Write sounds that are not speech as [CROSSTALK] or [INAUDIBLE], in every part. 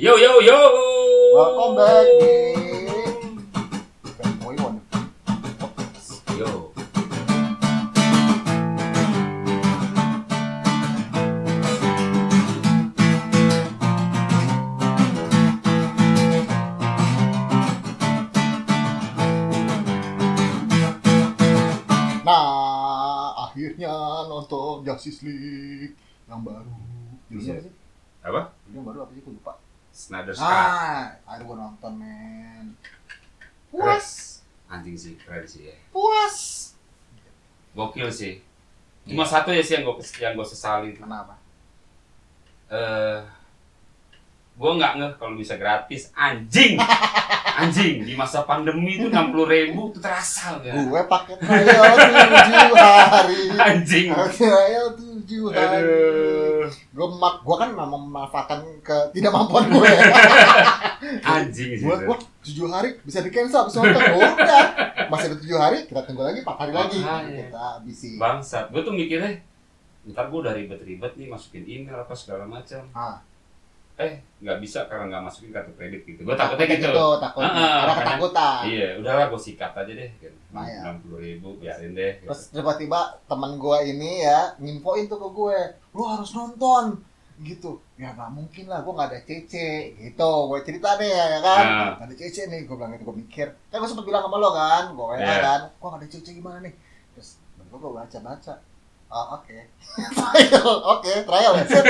Yo yo yo. Welcome back oh, di Fanboy One Podcast. Yo. Nah, akhirnya nonton Justice League yang baru. Judulnya apa Iya sih? Apa? Judulnya yang baru apa sih? Aku lupa. Snyder Scott. Ah, akhirnya gua nonton, men. Puas, Anjing sih keren sih ya. puas. Gokil sih. Cuma satu ya sih yang gue yang gue sesali. Eh, Kenapa? gue nggak ngeh kalau bisa gratis. [LAUGHS] Anjing. Anjing di masa pandemi itu enam puluh ribu itu terasa ya. Gue paket trial tujuh hari. Anjing. Trial tujuh hari. Aduh. Gue mak, gue kan memang memanfaatkan ke tidak mampuan gue. [LAUGHS] Anjing sih. Gua, itu. wah, tujuh hari bisa di cancel [LAUGHS] habis nonton. Oh, udah. Masih ada tujuh hari, kita tunggu lagi empat hari lagi. Makanya. Kita habisin. Bangsat. Gue tuh mikirnya ntar gue udah ribet-ribet nih masukin email apa segala macam. Ah. Eh, nggak bisa karena nggak masukin kartu kredit gitu. Nah, Gue takutnya gitu. takut. Ah, ah, Ada makanya. ketakutan. Iya, udahlah gue sikat aja deh. gitu. Lumayan. Enam puluh ribu, biarin deh. gitu. Terus tiba-tiba teman gue ini ya nginfoin tuh ke gue, lu harus nonton gitu ya nggak mungkin lah gue nggak ada cece gitu gue cerita deh ya kan Nah. nggak ada cece nih gue bilang gitu gue mikir kan gue sempet bilang sama lo kan gue wa Iya. kan gue nggak ada cece gimana nih terus gue gue baca baca ah oke [LAUGHS] trial oke trial ya [LAUGHS] sip.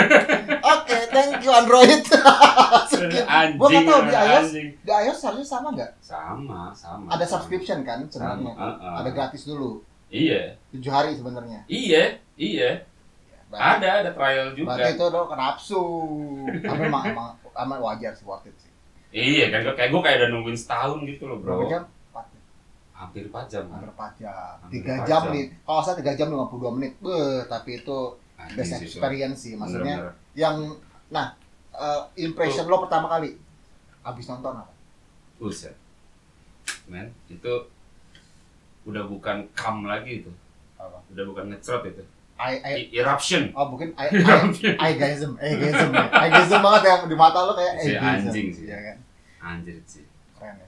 oke thank you android [LAUGHS] Skip. Gua Anjing, nggak tahu di iOS. anjing. di iOS harusnya sama nggak Sama, sama. ada sama. subscription kan Sama, sebenarnya uh-uh. ada gratis dulu Iya, tujuh hari sebenarnya Ya, iya, iya. Berarti- Ada, ada trial juga. Berarti itu lo nafsu. Tapi emang, emang, emang wajar sih worth it sih. Iya, kan gua kayak gue kayak udah nungguin setahun gitu loh, Berapa bro. jam? Empat jam. Hampir 4 jam. kan? Hampir empat jam. Hampir Tiga empat jam jam. nih. Kalau saya tiga jam lima puluh dua menit. Beuh, tapi itu Anjing best Iya sih, so. experience sih. Maksudnya Bener-bener. yang, nah, eh, impression lo pertama kali abis nonton apa? Buset. Men, itu udah bukan kam lagi itu. Apa? Udah bukan ngecrot itu. I, I, I- eruption. oh mungkin [LAUGHS] I, I, Aigeism, Aigeism ya. Aigeism banget yang di mata lo kayak Si Aigeism. anjing sih. Iya kan? Anjir sih. Keren ya.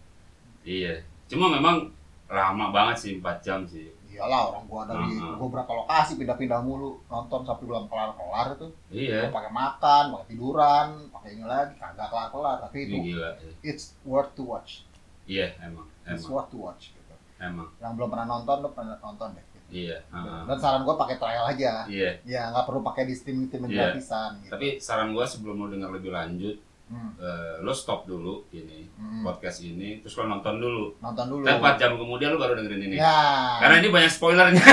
Iya. Cuma memang lama banget sih 4 jam sih. Iyalah orang gua dari Uh-uh. gua berapa lokasi pindah-pindah mulu nonton sampai belum kelar-kelar itu. Iya. pakai makan, pakai tiduran, pakai ini lagi, kagak kelar-kelar. Tapi itu, Ini gila. iya. it's worth to watch. Iya, emang. It's Emang. worth to watch. Gitu. Emang. Yang belum pernah nonton, lo pernah nonton deh. Gitu. Iya. heeh. Dan saran gue pakai trial aja. Iya. Ya, nggak perlu pakai di streaming streaming Iya. gratisan. Gitu. Tapi saran gua sebelum lo dengar lebih lanjut, Hmm, eh, lo stop dulu ini hmm. podcast ini, terus lo nonton dulu. nonton dulu. Ntar 4 jam kemudian lo baru dengerin ini. Ya. Karena ini banyak spoilernya. [LAUGHS]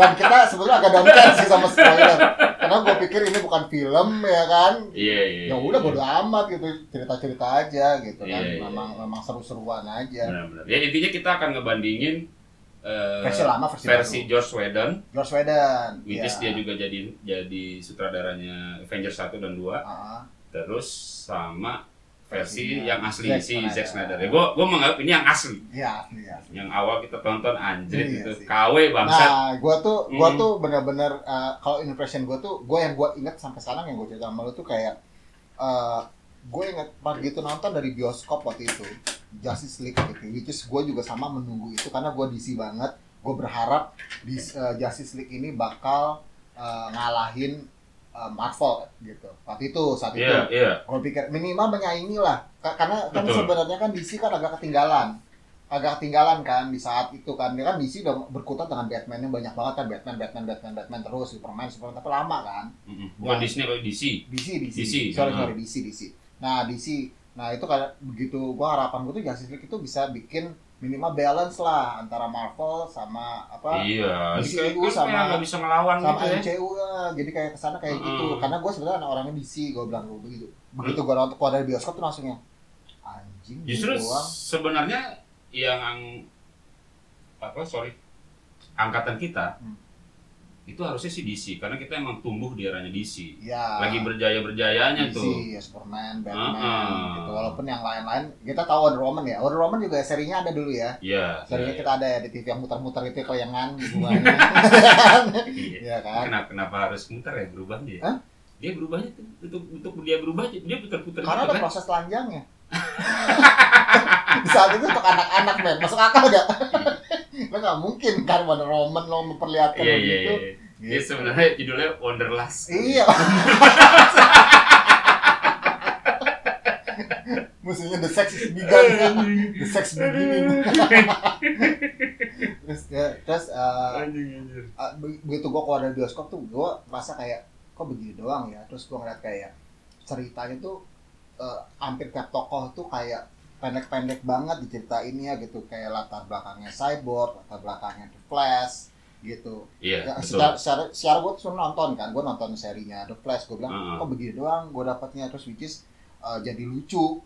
Dan kita sebetulnya agak downkan sih sama spoiler. Karena gue pikir ini bukan film ya kan. Iya, iya. Ya udah bodo amat gitu cerita-cerita aja gitu kan. Iya, iya. Memang memang seru-seruan aja. Benar-benar. Ya intinya kita akan ngebandingin eh, Versi lama versi, versi baru. George Whedon, George Whedon. which ya. is dia juga jadi jadi sutradaranya Avengers 1 dan 2. Ah. terus sama versi Versinya yang asli Iya. Zack si Snyder. Zack Snyder. Ya, gua gua menganggap ini yang asli. Iya, iya. Yang awal kita tonton anjrit Iya itu sih. KW bangsat. Nah, gua tuh gua Hmm. tuh bener-bener uh, kalau impression gua tuh gua yang gua inget sampai sekarang yang gua cerita sama lu tuh kayak uh, gue inget pas gitu nonton dari bioskop waktu itu Justice League gitu, which is gue juga sama menunggu itu karena gua DC banget, gue berharap di uh, Justice League ini bakal uh, ngalahin uh, Marvel gitu. Waktu itu saat itu Iya, iya. gue pikir minimal menyaingi lah Ka- karena kan Betul. sebenarnya kan DC kan agak ketinggalan agak ketinggalan kan di saat itu kan dia kan DC udah berkutat dengan Batman yang banyak banget kan Batman Batman Batman Batman terus Superman Superman tapi lama kan Mm-mm. Bukan Nah. Disney kalau DC. DC DC, DC, sorry ah. sorry DC DC nah DC nah itu kayak begitu gua harapan gua tuh Justice League itu bisa bikin minimal balance lah antara Marvel sama apa Iya, DC kayak itu kan sama- kayak nggak bisa ngelawan sama gitu ya. MCU eh, jadi kayak kesana kayak gitu Mm. karena gue sebenarnya anak orangnya DC gue bilang gue begitu begitu gue nonton keluar dari bioskop tuh langsungnya anjing Justru gitu doang sebenarnya yang apa sorry angkatan kita Hmm. itu harusnya sih DC karena kita emang tumbuh di eranya DC. ya Lagi berjaya berjayanya DC, tuh. ya, Superman Batman Mm-mm. gitu walaupun yang lain-lain kita tahu Wonder Woman ya Wonder Woman juga serinya ada dulu ya Iya. serinya iya, kita ada ya di TV yang muter-muter itu [LAUGHS] kelayangan gitu iya. ya kan Kenapa, kenapa harus muter ya berubah dia? Hah? dia berubahnya tuh untuk untuk dia berubah dia putar-putar Karena gitu ada kan. proses telanjangnya. [LAUGHS] Di saat itu untuk anak-anak men, masuk akal gak? Lo gak mungkin kan Wonder Woman lo memperlihatkan Iya iya begitu. iya. Dia sebenarnya judulnya Wonderlust. gitu. Iya. Musuhnya the sex is begun. Anjing. the sex beginning. terus ya, terus eh, Anjing anjing. Ah, be- begitu gue keluar dari bioskop tuh gue merasa kayak kok begini doang ya terus gue ngeliat kayak ceritanya tuh eh, hampir tiap tokoh tuh kayak pendek-pendek banget diceritainnya gitu kayak latar belakangnya cyborg latar belakangnya the flash gitu Iya, ya, betul. secara, secara, secara gue tuh nonton kan gue nonton serinya the flash gue bilang Heeh. kok begini doang gue dapatnya terus which is eh, jadi lucu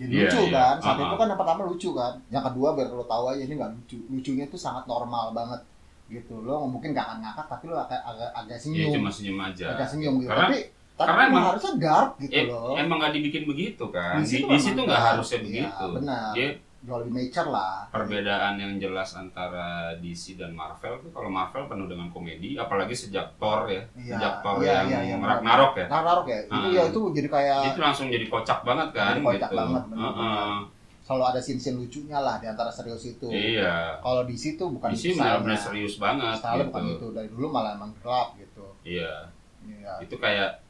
jadi Iya, lucu iya. kan saat Heeh. itu kan yang pertama lucu kan yang kedua biar lo tahu aja ini nggak lucu lucunya tuh sangat normal banget gitu lo mungkin gak akan ngakak tapi lo agak agak, agak Iya senyum cuma senyum aja. agak senyum gitu Karena- tapi tapi karena emang emang- harusnya dark gitu Em- loh emang nggak dibikin begitu kan. Di, di memang situ nggak dark. harusnya Iya, begitu. benar Dia jual lebih nature lah perbedaan yang jelas antara DC dan Marvel tuh kalau Marvel penuh dengan komedi, apalagi sejak Thor ya, Iya, sejak Thor iya, iya, iya, yang benar. Ragnarok ya, Ragnarok ya itu Ah. ya itu jadi kayak itu langsung jadi kocak banget kan Jadi kocak gitu. banget, benar. Heeh. selalu ada scene-scene lucunya lah di antara serius itu Iya, kalau di situ bukan DC stylenya. benar-benar serius banget Style gitu. bukan itu dari dulu malah emang gelap gitu Iya, Iya. itu kayak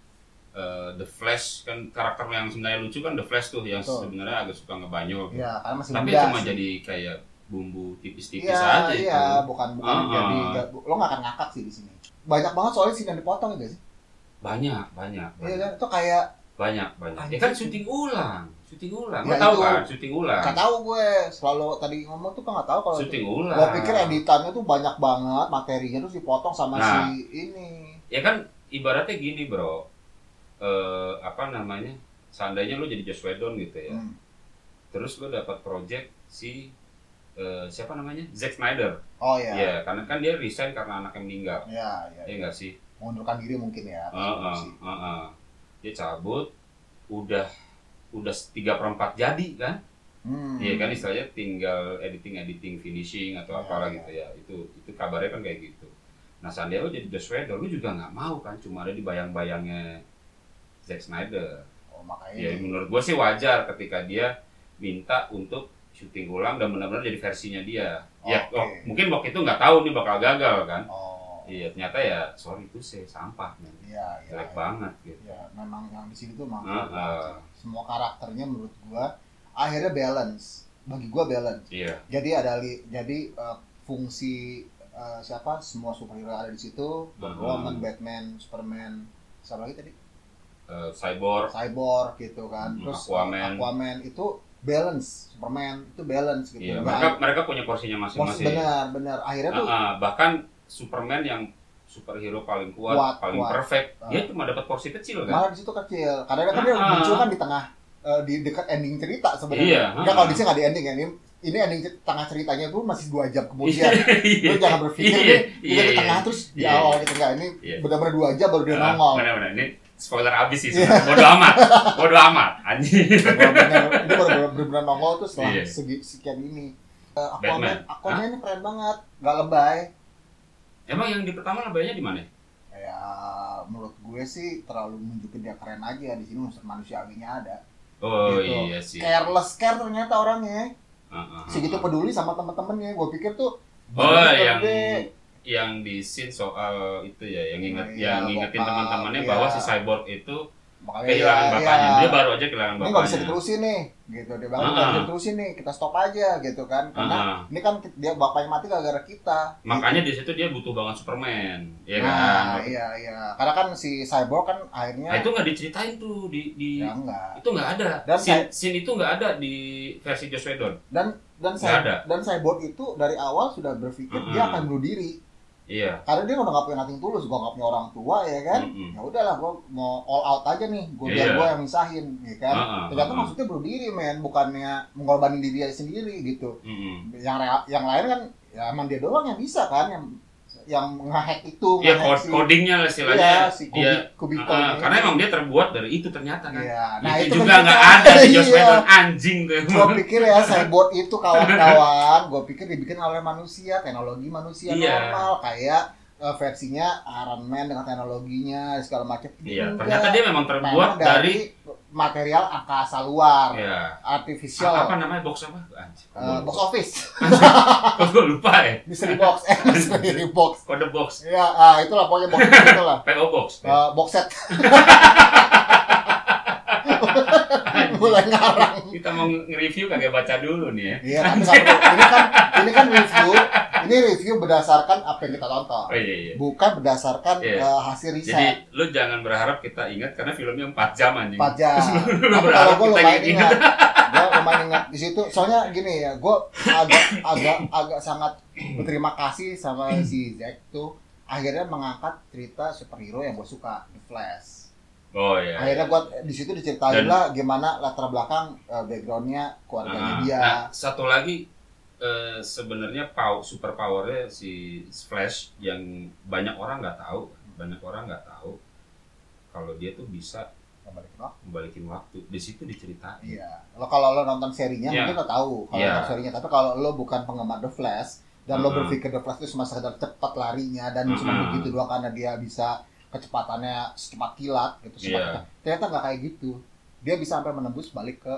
eh, The Flash kan karakter yang sebenarnya lucu kan The Flash tuh yang Betul. sebenarnya agak suka ngebanyol. Iya, karena masih Tapi ya muda cuma sih. jadi kayak bumbu tipis-tipis Iya, aja iya, itu. bukan bukan Ah. jadi nggak- bu- lo nggak akan ngakak sih di sini. Banyak banget soalnya sih yang dipotong ya guys. Banyak, banyak. Iya banyak. kan itu kayak banyak banyak ya Anjing. kan syuting ulang syuting ulang Ya, Lo tahu itu. kan syuting ulang nggak tahu gue selalu tadi ngomong tuh kan nggak tahu kalau syuting ulang gue pikir editannya tuh banyak banget materinya terus dipotong sama Nah. si ini. ya kan ibaratnya gini bro eh apa namanya seandainya lu jadi Josh Whedon gitu ya Hmm. terus lu dapat project si eh, siapa namanya Zack Snyder Oh ya iya. karena kan dia resign karena anaknya meninggal Iya, iya. ya enggak sih Mengundurkan diri mungkin ya. Heeh, Si- heeh. dia cabut udah udah tiga perempat jadi kan Hmm. Iya kan istilahnya tinggal editing editing finishing atau Iya, apalah iya. gitu ya itu itu kabarnya kan kayak gitu. Nah seandainya lo jadi The Shredder lo juga nggak mau kan cuma ada di bayang-bayangnya Zack Snyder. Oh, makanya. Ya menurut gue sih wajar ketika dia minta untuk syuting ulang dan benar-benar jadi versinya dia. Ya Oke. oh, mungkin waktu itu nggak tahu nih bakal gagal kan. Oh. Iya ternyata ya sorry itu sih sampah men. Iya, iya. jelek iya. banget gitu. ya memang yang di sini tuh memang Heeh. banget. semua karakternya menurut gua akhirnya balance bagi gua balance Iya jadi ada li, jadi eh, fungsi eh, siapa semua superhero ada di situ Wonder Heeh. Woman Batman Superman siapa lagi tadi eh, cyborg Cyborg gitu kan Hmm, terus Aquaman. Aquaman itu balance Superman itu balance gitu Iya, Nggak- mereka mereka punya porsinya Bos, masing-masing. benar benar akhirnya tuh Ah, ah, bahkan Superman yang superhero paling kuat, Kuat, paling kuat. perfect, Ah. dia cuma dapat porsi kecil kan? malah di situ kecil karena kan dia Heeh. muncul kan di tengah eh, di dekat ending cerita sebenarnya Ah. Iya, Enggak heeh. kalau di sini nggak di ending ya. Ini, ini ending cer- tengah ceritanya tuh masih dua jam kemudian. Lu jangan berpikir [LAUGHS] Iya, nih, iya, udah di iya. tengah terus di Iya, awal gitu enggak. Ini Iya. benar-benar dua jam baru dia Ah, nongol. benar-benar. ini spoiler abis sih. sebenarnya. Bodoh [LAUGHS] amat, bodoh amat, anjir. Benar-benar dia baru benar-benar nongol tuh setelah Iya. segi sekian ini. Eh, Batman. Aquaman, Aquaman ini keren banget, nggak lebay. Emang yang di pertama lebaynya di mana? Ya menurut gue sih terlalu nunjukin dia keren aja di sini unsur manusiawinya ada. Oh Gitu. iya sih. Careless care ternyata orangnya, Ah, ah, ah. segitu peduli sama temen-temennya. Gue pikir tuh Oh badannya yang gede. yang di scene soal itu ya, yang inget, Oh, iya, yang ngingetin bokap, teman-temannya iya. bahwa si cyborg itu Makanya kehilangan ya- bapaknya. ya. Dia baru aja kehilangan ini bapaknya. nggak bisa diterusin nih gitu dia bilang nggak Ah. bisa diterusin nih kita stop aja gitu kan Ah, karena ah. ini kan ki- dia bapaknya mati gara-gara kita Makanya di situ dia butuh banget Superman, ya kan? nah iya iya karena kan si cyborg kan akhirnya Nah itu nggak diceritain tuh di di ya enggak itu nggak ada. Dan scene, scene itu nggak ada di versi Joss Whedon. dan dan Nggak cy- ada. dan cyborg itu dari awal sudah berpikir Mm-mm. dia akan bunuh diri Iya. karena dia udah nggak punya nothing tulus gua nggak punya orang tua ya kan Mm-mm. ya udahlah gua mau all out aja nih gua Iya. biar gua yang misahin ya kan Ah, ah, ternyata ah, ah. maksudnya bunuh diri men bukannya mengorbankan diri dia sendiri gitu Mm-mm. yang rea- yang lain kan ya emang dia doang yang bisa kan yang yang ngehack itu Iya ngehack code si- codingnya lah iya, istilahnya. si kubi, dia Kubicon Ah, ah, ini. karena emang dia terbuat dari itu ternyata kan. Iya, itu, kan juga kita- nggak ada di Joss [LAUGHS] Iya. Whedon anjing tuh. Iya, Gua pikir ya cyborg itu kawan-kawan, gua pikir dibikin oleh manusia, teknologi manusia Iya. normal kayak eh, versinya Iron Man dengan teknologinya segala macam. Iya, Enggak. ternyata dia memang terbuat Memang dari, material angkasa luar, ya, artificial, apa namanya box apa? Anjir. eh, box office, [LAUGHS] [LAUGHS] Kok gue lupa ya? mystery box, eh, mystery [LAUGHS] box. Kode box, Ya, ah, itulah pokoknya box [LAUGHS] itulah. PO box. Eh, box set [LAUGHS] mulai ngarang. Kita mau nge-review kagak baca dulu nih ya. Iya, tapi nggak perlu. ini kan ini kan review, ini review berdasarkan apa yang kita tonton, Oh iya iya. bukan berdasarkan Iya. eh, hasil Jadi riset. lu jangan berharap kita ingat karena filmnya 4 jam anjing. [LAUGHS] pajak. lu Tapi berharap kalau gue kita lumayan ingat. ingat, [LAUGHS] gue lumayan ingat di situ. Soalnya gini ya, gue agak agak agak sangat berterima kasih sama si Zack tuh akhirnya mengangkat cerita superhero yang gue suka, The Flash. Oh iya. Akhirnya gue di situ diceritain Dan- lah gimana latar belakang eh, backgroundnya keluarganya Nah, dia. nah, satu lagi eh, sebenarnya pow- super powernya si Flash yang banyak orang nggak tahu, banyak orang nggak tahu kalau dia tuh bisa Kembaliin Nah. waktu. membalikin waktu. Di situ diceritain. Iya. Lo kalau lo nonton serinya Iya. mungkin lo tahu kalau Iya. Hmm. nonton serinya. Tapi kalau lo bukan penggemar The Flash dan lo Mm-mm. berpikir The Flash itu cuma sekedar cepat larinya dan cuma Mm-mm. begitu doang karena dia bisa kecepatannya secepat kilat gitu. Iya. secepat- Ternyata nggak kayak gitu. Dia bisa sampai menembus balik ke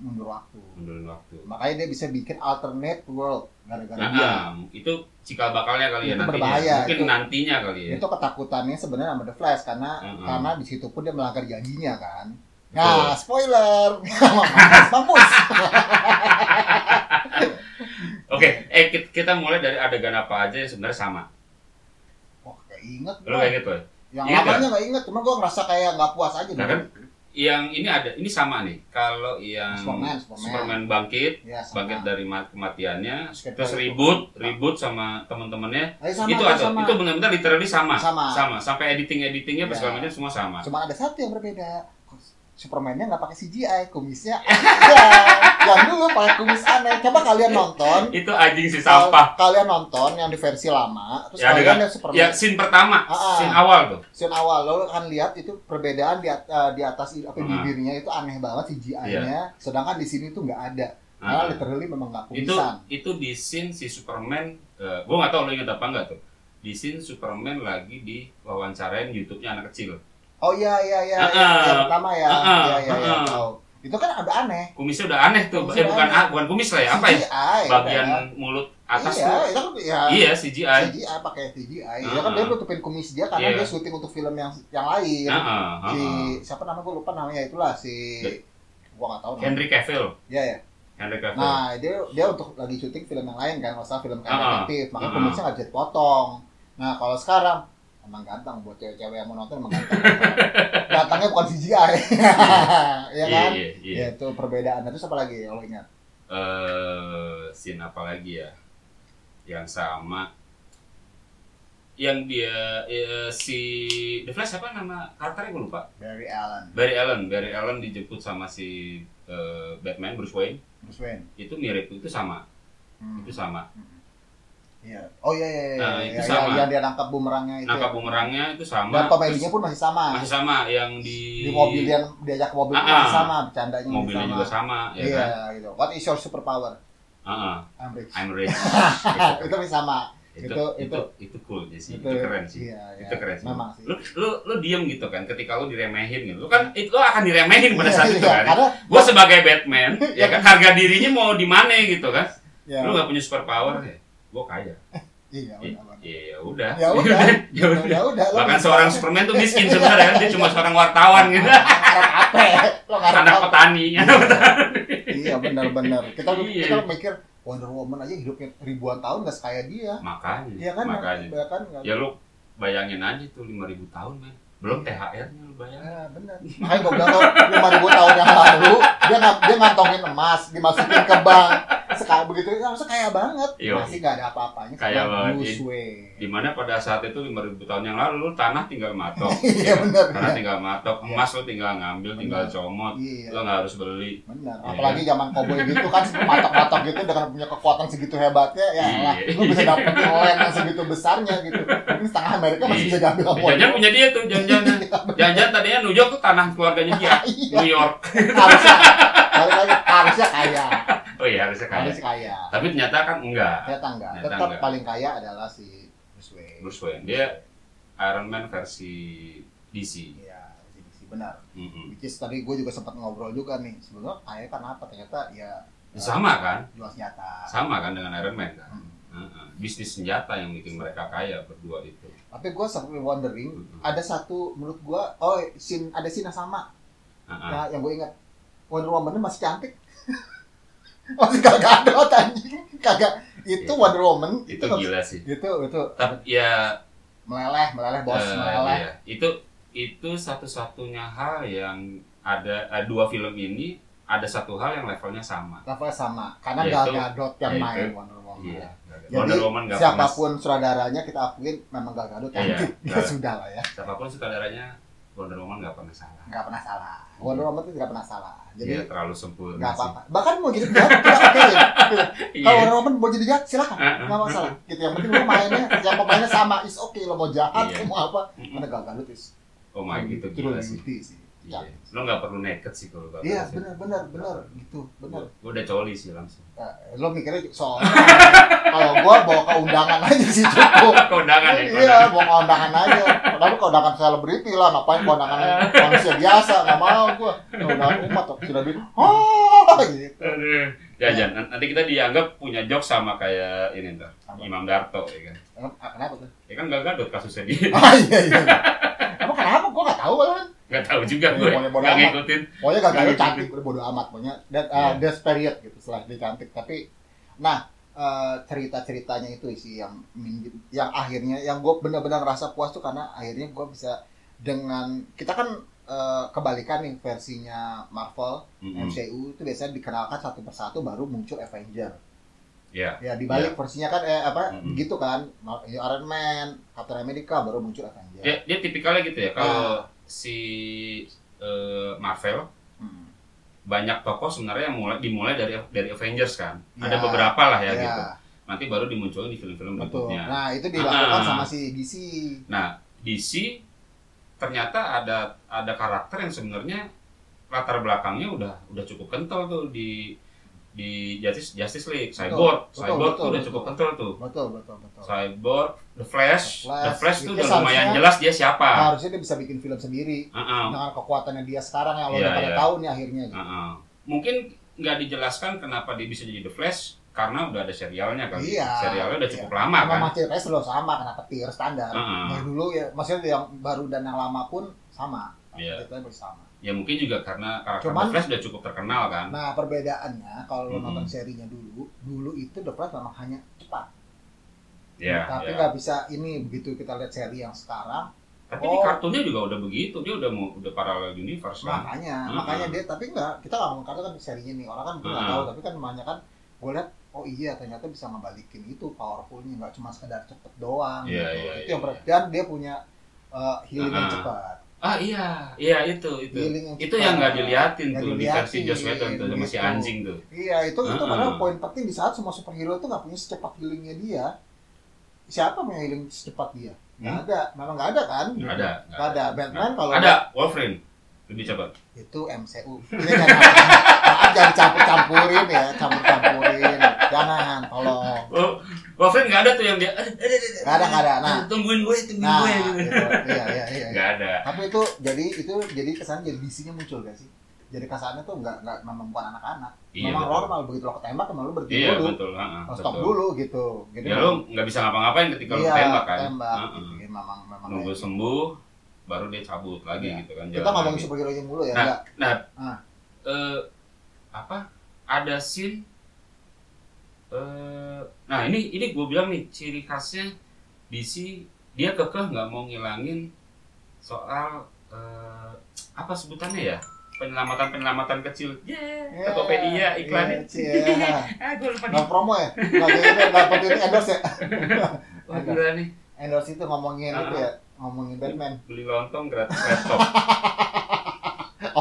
mundur waktu. Mundurin waktu. Makanya dia bisa bikin alternate world gara-gara Nah, dia. ah, itu cikal bakalnya kali ya Itu nantinya. berbahaya, Mungkin itu. nantinya kali ya. Itu ketakutannya sebenarnya sama The Flash karena Mm-mm. karena di situ pun dia melanggar janjinya kan. Hmm. Betul. Nah, spoiler. [LAUGHS] Mampus, mampus. Oke, eh kit- kita mulai dari adegan apa aja yang sebenarnya sama. Wah, kayak inget Lu gua. kayak gitu. Yang Ingat lamanya nggak inget, cuma gue ngerasa kayak nggak puas aja. Nah, kan? Yang ini ada, ini sama nih. Kalau yang Superman, Superman. kan, hmm, Superman bangkit, Ya, sama. bangkit dari ma- kematiannya, Terus kayak terus kayak ribut, ribut sama teman-temannya. Eh, sama, itu sama, ada, sama. itu benar-benar literally sama. Sama. sampai editing-editingnya pas Ya. segala macam semua sama. Cuma ada satu yang berbeda. Superman-nya nggak pakai CGI, kumisnya ada. [LAUGHS] yang dulu pakai kumis aneh. Coba kalian nonton. Itu anjing si Iya, sampah. Kal- Kalian nonton yang di versi lama, terus Ya, ada kalian kan? yang Superman. Ya, scene pertama, Ah, ah. scene awal tuh. Scene awal lo akan lihat itu perbedaan di, at- eh, di atas i- apa Hmm. Iya. bibirnya itu aneh banget CGI-nya. Sedangkan di sini tuh nggak ada. Karena Ah. literally memang nggak itu kumisan. itu di scene si Superman eh gue nggak tahu lo inget apa nggak tuh di scene Superman lagi di wawancarain YouTube-nya anak kecil Oh iya iya iya. Ah, iya. ah. Yang pertama ya. Ah, ah, Iya iya iya. ah, ah. tahu. Itu kan ada aneh. kumisnya udah aneh tuh Kumisnya eh bukan aneh. ah, bukan kumis lah ya apa ya CGI, bagian kan? mulut atas iya, tuh itu kan ya iya CGI CGI pakai CGI Ah. ya kan dia nutupin kumis dia karena Iya. dia syuting untuk film yang yang lain Ah, ah, ah, si ah. siapa nama gue lupa namanya itulah si Ya. gua nggak tahu namanya Henry Cavill ya ya Henry Cavill nah dia dia untuk lagi syuting film yang lain kan masalah film kayak Ah, ah. detektif maka Ah, ah. kumisnya nggak jadi potong nah kalau sekarang emang ganteng buat cewek-cewek yang mau nonton [LAUGHS] emang ganteng datangnya bukan [LAUGHS] CGI ya iya Iya kan iya iya ya itu perbedaan terus apa lagi kalau ingat Eh, scene apa lagi ya yang sama yang dia eh, si The Flash apa nama karakternya gue lupa Barry Allen Barry Allen, Barry Allen dijemput sama si eh, Batman Bruce Wayne Bruce Wayne itu mirip itu sama, Hmm. itu sama. Iya. Oh iya iya iya. Nah, itu iya, sama. Yang, yang dia nangkap bumerangnya itu. Nangkap ya. bumerangnya itu sama. Dan komedinya terus pun masih sama. masih sama yang di Di mobil yang diajak ke mobil pun Ah, masih ah. sama, bercandanya mobilnya juga masih sama. sama, ya Iya kan? gitu. What is your superpower? Ah, ah, I'm rich. I'm [LAUGHS] rich. Ah, itu masih sama. itu, itu, itu- itu, itu cool ya sih, itu, keren sih. Iya, iya. Itu keren sih. Memang sih. Lu, lu, lu diem gitu kan ketika lu diremehin gitu. Lu kan itu lu akan diremehin pada saat Iya, itu iya. kan. Karena Gua sebagai [LAUGHS] Batman, ya kan harga dirinya mau di mana gitu kan. ya, Lu gak punya superpower ya. Gua kaya. iya, Ya, benar, benar. ya udah. Ya udah. [LAUGHS] ya udah. Ya udah. lo Bahkan bisa. seorang Superman tuh miskin sebenarnya, dia cuma seorang wartawan gitu. Iya. Ngarep apa? ya? Lo ngarep Anak apa? petani. Iya, benar-benar. Kita Iya. kita mikir Wonder Woman aja hidupnya ribuan tahun nggak sekaya dia. [LAUGHS] Makanya, Iya kan? makanya. Ya kan? nggak- Ya lu bayangin aja tuh 5000 tahun, men. Belum THR-nya lu bayangin. Ah, benar. Makanya gue bilang tuh, 5000 tahun yang lalu, dia, nggak- dia ngantongin emas, dimasukin ke bank. Sekarang begitu, harusnya kaya banget. Yo. Masih nggak ada apa-apanya. Iya. Kaya sama banget, Bruce iya. Wayne. Dimana pada saat itu 5000 tahun yang lalu lu tanah tinggal matok. Iya, benar. Tanah tinggal matok, emas lu tinggal ngambil, tinggal comot. Iya, Lu nggak harus beli. benar. Iya. Apalagi zaman koboi gitu kan, matok-matok gitu dengan punya kekuatan segitu hebatnya, ya lah, Iya. lu bisa dapetin land yang segitu besarnya gitu. Mungkin setengah Amerika masih Iya. bisa diambil sama Jangan orang. Eh, punya dia tuh, [LAUGHS] jangan-jangan. Jangan-jangan tadinya New York tuh tanah keluarganya dia. Iya, New York. harusnya, balik lagi, harusnya kaya, Oh iya, harusnya kaya. harusnya kaya. Tapi ternyata kan enggak. Ternyata enggak. Ternyata Tetap enggak. paling kaya adalah si Bruce Bruce Wayne. Bruce Wayne. Dia- Iron Man versi DC. Iya, DC, benar. Mm-mm. Which is tadi gue juga sempat ngobrol juga nih sebenarnya ayah kenapa ternyata ya Sama kan? jual senjata. Sama kan dengan Iron Man kan? Hmm. Heeh. Bisnis senjata yang bikin mereka kaya berdua itu. Tapi gue sempat wondering Mm-mm. ada satu menurut gue oh scene ada scene yang sama Heeh. Nah, yang gue ingat Wonder Woman masih cantik. [LAUGHS] masih kagak ada anjing. Kagak itu Iya. Wonder Woman Itu itu gila sih. itu itu Tapi ya meleleh meleleh bos eh, meleleh. iya. itu itu satu-satunya hal yang ada eh, dua film ini ada satu hal yang levelnya sama. Levelnya sama karena Iya, Gal itu- Gadot yang iya, main itu. Wonder Woman. Iya. Oh, Jadi, Wonder Woman nggak pernah Siapapun saudaranya kita akuin memang Gal Gadot Iya, cantik. iya. Ya sudah lah ya. siapapun sutradaranya Wonder Woman nggak pernah salah. nggak pernah salah. Wonder Woman itu nggak pernah salah. Dia Jadi terlalu sempurna. nggak Iya. sih. apa-apa. Bahkan mau jadi jahat kita oke. Iya. Ah, Kalau Wonder Woman mau jadi jahat silakan. Heeh. Nggak masalah. Gitu yang penting lo mainnya, yang pemainnya sama is oke lo mau jahat, Iya. lo mau apa. Mm-mm. Karena Gal Gadot is Oh my gitu Itu gila lebih sih. beauty sih. Iya. Lo nggak perlu naked sih kalau bakal ya. Iya, sih. benar benar benar gitu, benar. Gue udah coli sih langsung. [LAUGHS] Eh, lo mikirnya soal [LAUGHS] kalau gua bawa ke undangan aja sih cukup. [LAUGHS] Kondangan ya, kondangan. Iya, bawa ke undangan aja. Padahal ke undangan selebriti lah, ngapain ke undangan manusia biasa, nggak mau gua. Ke undangan umat tapi sudah bilang, oh [LAUGHS] gitu. Aduh. Jajan. Nan- Nanti kita dianggap punya jok sama kayak ini ntar. Apa? Imam Darto ya kan. Emang, ah, Kenapa tuh? [LAUGHS] Ya kan gak gadot kasusnya dia. Ah iya iya. Emang kenapa? Gua nggak tahu kan. Gak tahu juga gue. Boleh-boleh Gak amat. ngikutin. Pokoknya gak Nggak ada gitu. cantik, udah bodo amat pokoknya. Dan Iya. uh, there's period gitu setelah dia cantik. Tapi nah eh, cerita-ceritanya itu sih yang yang akhirnya yang gue benar-benar ngerasa puas tuh karena akhirnya gue bisa dengan kita kan eh, kebalikan nih versinya Marvel Mm-mm. MCU itu biasanya dikenalkan satu persatu baru muncul Avenger. Iya. Hmm. Ya dibalik versinya kan eh, apa Mm-mm. gitu kan Mar- Iron Man, Captain America baru muncul Avenger. Dia, dia tipikalnya gitu ya. Iya. Kalau si eh, Marvel Hmm. banyak tokoh sebenarnya yang mulai dimulai dari dari Avengers kan. Ada Ya. beberapa lah ya, Ya, gitu. Nanti baru dimunculin di film-film betul. berikutnya. Nah itu Ah. dilakukan sama si DC. Nah, DC ternyata ada ada karakter yang sebenarnya latar belakangnya udah udah cukup kental tuh di di Justice Justice League, Cyborg, betul, Cyborg tuh betul, udah betul. cukup kental tuh. Betul, betul, betul. Cyborg, The Flash, The Flash. The Flash tuh Ya, udah seharusnya- lumayan jelas dia siapa. Harusnya dia bisa bikin film sendiri Heeh, dengan kekuatannya dia sekarang yang lo Iya, udah pada iya. tahu nih akhirnya. gitu. heeh. Mungkin nggak dijelaskan kenapa dia bisa jadi The Flash karena udah ada serialnya kan. Iya, serialnya udah cukup iya. lama Sama kan. Ah, ceritanya selalu sama, kenapa tier standar. Heeh. Dari dulu ya, maksudnya yang baru dan yang lama pun sama. Iya. Ceritanya bersama. Ya mungkin juga karena karakter Cuman- The Flash udah cukup terkenal kan. Nah perbedaannya kalau lo Mm-mm. nonton serinya dulu, dulu itu The Flash memang hanya cepat. Iya, Tapi iya. nggak bisa ini begitu kita lihat seri yang sekarang, Tapi di Oh. kartunnya juga udah begitu, dia udah mau udah paralel universe kan. lah. makanya Mm-mm. makanya dia tapi nggak kita nggak mengkata kan serinya nih orang kan nggak Mm-mm. tahu tapi kan banyak kan gue lihat oh iya ternyata bisa ngebalikin itu powerfulnya nggak cuma sekedar cepet doang Iya, iya, gitu. itu iya, yang ber- iya. dan dia punya uh, healing yang Mm-mm. cepat Ah iya, iya itu itu. healing Itu yang nggak diliatin Nggak tuh di diliatin, versi Joss Whedon tuh sama si gitu. anjing tuh. iya itu itu Mm-mm. padahal poin penting di saat semua superhero tuh nggak punya secepat healingnya dia siapa punya healing secepat dia nggak ada memang nggak ada kan Hmm? Nggak ada, nggak nggak ada. ada Batman kalau Ada Wolverine lebih cepat. itu MCU ini jangan maaf jangan campur campurin ya campur campurin jangan tolong Oh, Wolverine nggak ada tuh yang dia. Nggak Nggak ada, nggak ada. Nah. Tungguin gue, tungguin nah gue. gitu. gitu. iya iya iya Nggak ada. tapi itu jadi itu jadi kesan jadi DC-nya muncul gak sih jadi kesannya tuh nggak nggak memang bukan anak-anak Iya memang betul. normal begitu lo ketembak emang lo berhenti Iya dulu betul. ha, ha, lo stop betul. dulu gitu jadi Ya lu nggak bisa ngapa-ngapain ketika lu iya, tembak kan. tembak, Ha, ha. gitu. Jadi memang memang Nunggu kayak- sembuh, baru dia cabut lagi Iya. gitu kan. kita jalan ngomongin lagi. superhero yang mulu ya Nah, nggak Nah, Ah. eh, apa? Ada scene. eh, nah ini ini gue bilang nih ciri khasnya DC dia kekeh nggak mau ngilangin soal eh, apa sebutannya ya penyelamatan penyelamatan kecil. Yeah, Tokopedia iklannya. Iya, [LAUGHS] ah gue lupa nih. Nggak promo ya? Nggak jadi nggak dapat ini endorse ya? Wah, gila nih Endorse itu ngomongin Ah. itu ya, ngomongin Batman. beli lontong gratis laptop.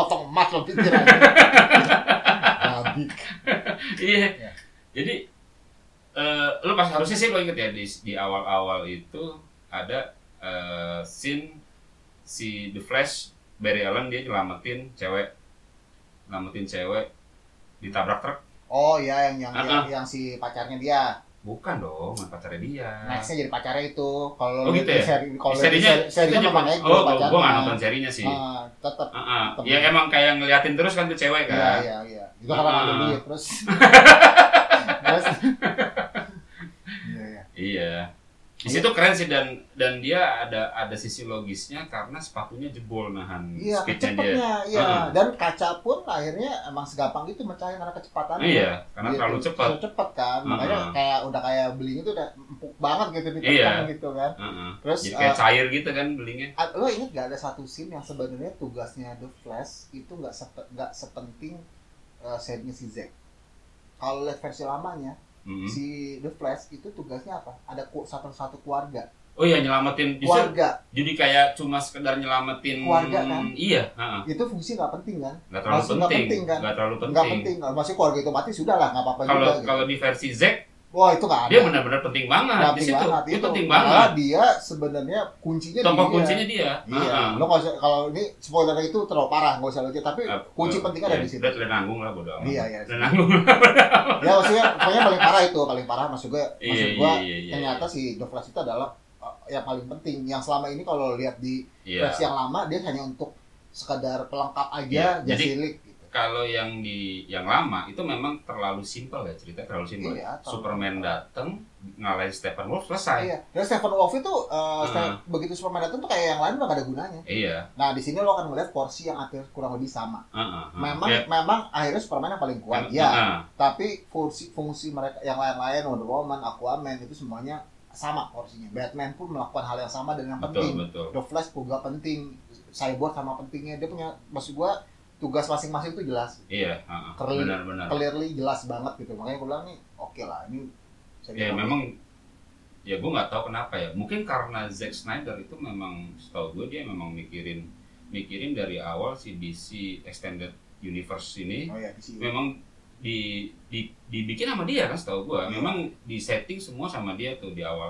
Otak emas lo [LAUGHS] pikir aja. Babi. Iya. Iya. Jadi eh lu pas harusnya sih lo inget ya di di awal-awal itu ada eh, scene si The Flash Barry Allen dia nyelamatin cewek nyelamatin cewek ditabrak truk Oh iya yang yang, Ah, yang yang si pacarnya dia. Bukan dong, bukan pacarnya dia. Nextnya jadi pacarnya itu. Kalau Ah. Oh, lu gitu lihat ya? seri Nah, kalau lihat Serinya, seri- serinya itu memang juga- Ego oh, gua, pacarnya. gua nggak nonton serinya sih. Ah, tetap. Heeh. Tapi- Ya emang kayak ngeliatin terus kan tuh cewek Iya, kan. iya, iya. Itu karena nggak ada Ah. duit [LAUGHS] terus. terus. Iya, iya. Iya. Di situ keren sih dan dan dia ada ada sisi logisnya karena sepatunya jebol nahan Iya, speednya dia. [LAUGHS] cepatnya, iya. Ah. Dan kaca pun akhirnya emang segampang itu mecahin karena kecepatannya. Iya, karena Gitu. terlalu cepat. Terlalu cepat kan. Makanya Ah. kayak udah kayak belinya tuh udah empuk banget gitu di Iya. tangan gitu kan. Heeh. Terus Jadi eh, kayak cair gitu kan belinya. Ah, lo inget gak ada satu scene yang sebenarnya tugasnya The Flash itu nggak sepe- nggak sepenting eh, serinya si Zack. Kalau lihat versi lamanya, Mm. si The Flash itu tugasnya apa? Ada ku- satu satu keluarga, Oh iya nyelamatin justru keluarga jadi kayak cuma sekedar nyelamatin Keluarga, kan? Iya, heeh. itu fungsi nggak penting kan? Nggak terlalu Maksud nggak penting. penting, kan? Nggak terlalu Nggak penting. penting, kalau masih keluarga itu mati sudah lah, nggak apa-apa Kalau juga. gitu. kalau di versi Zack Wah itu nggak ada. dia benar-benar penting banget Nggak di situ. banget Dia penting Malah banget. dia sebenarnya kuncinya di Tokoh dia. kuncinya dia. Iya, Heeh. lo nggak usah- kalau ini spoiler itu terlalu parah, nggak usah lo tapi Eh, kunci eh, pentingnya ada ya, di situ. Udah udah nanggung lah bodo amat. Iya, iya. Udah nanggung. ya maksudnya pokoknya paling parah itu paling parah maksud gue Iya, maksud iya, gue iya, iya. ternyata si The Flash itu adalah uh, yang paling penting yang selama ini kalau lihat di Iya. versi yang lama dia hanya untuk sekadar pelengkap Iya, jadi- aja jadi League gitu Kalau yang di yang lama itu memang terlalu simpel ya cerita terlalu simpel. Iya, terlalu- Superman datang ngalahin Stephen Wolf selesai. iya dan Stephen Wolf itu Ah. uh, Ste- begitu Superman datang tuh kayak yang lain udah gak ada gunanya Iya. nah di sini lo akan melihat porsi yang hampir kurang lebih sama heeh, heeh. memang Ya, memang akhirnya Superman yang paling kuat heeh, ya heeh. tapi fungsi fungsi mereka yang lain-lain Wonder Woman Aquaman itu semuanya sama porsinya Batman pun melakukan hal yang sama dan yang Betul, penting betul. The Flash juga penting, Cyborg sama pentingnya dia punya maksud gua tugas masing-masing itu jelas, Iya, heeh. Keren. benar-benar. clearly jelas banget gitu. Makanya gua bilang nih, oke lah ini Ya saya bilang, memang ya gue nggak tahu kenapa ya. Mungkin karena Zack Snyder itu memang setahu gue dia memang mikirin mikirin dari awal si DC Extended Universe ini oh ya di sini. memang di, di dibikin sama dia kan setahu gua. Iya. Memang di setting semua sama dia tuh di awal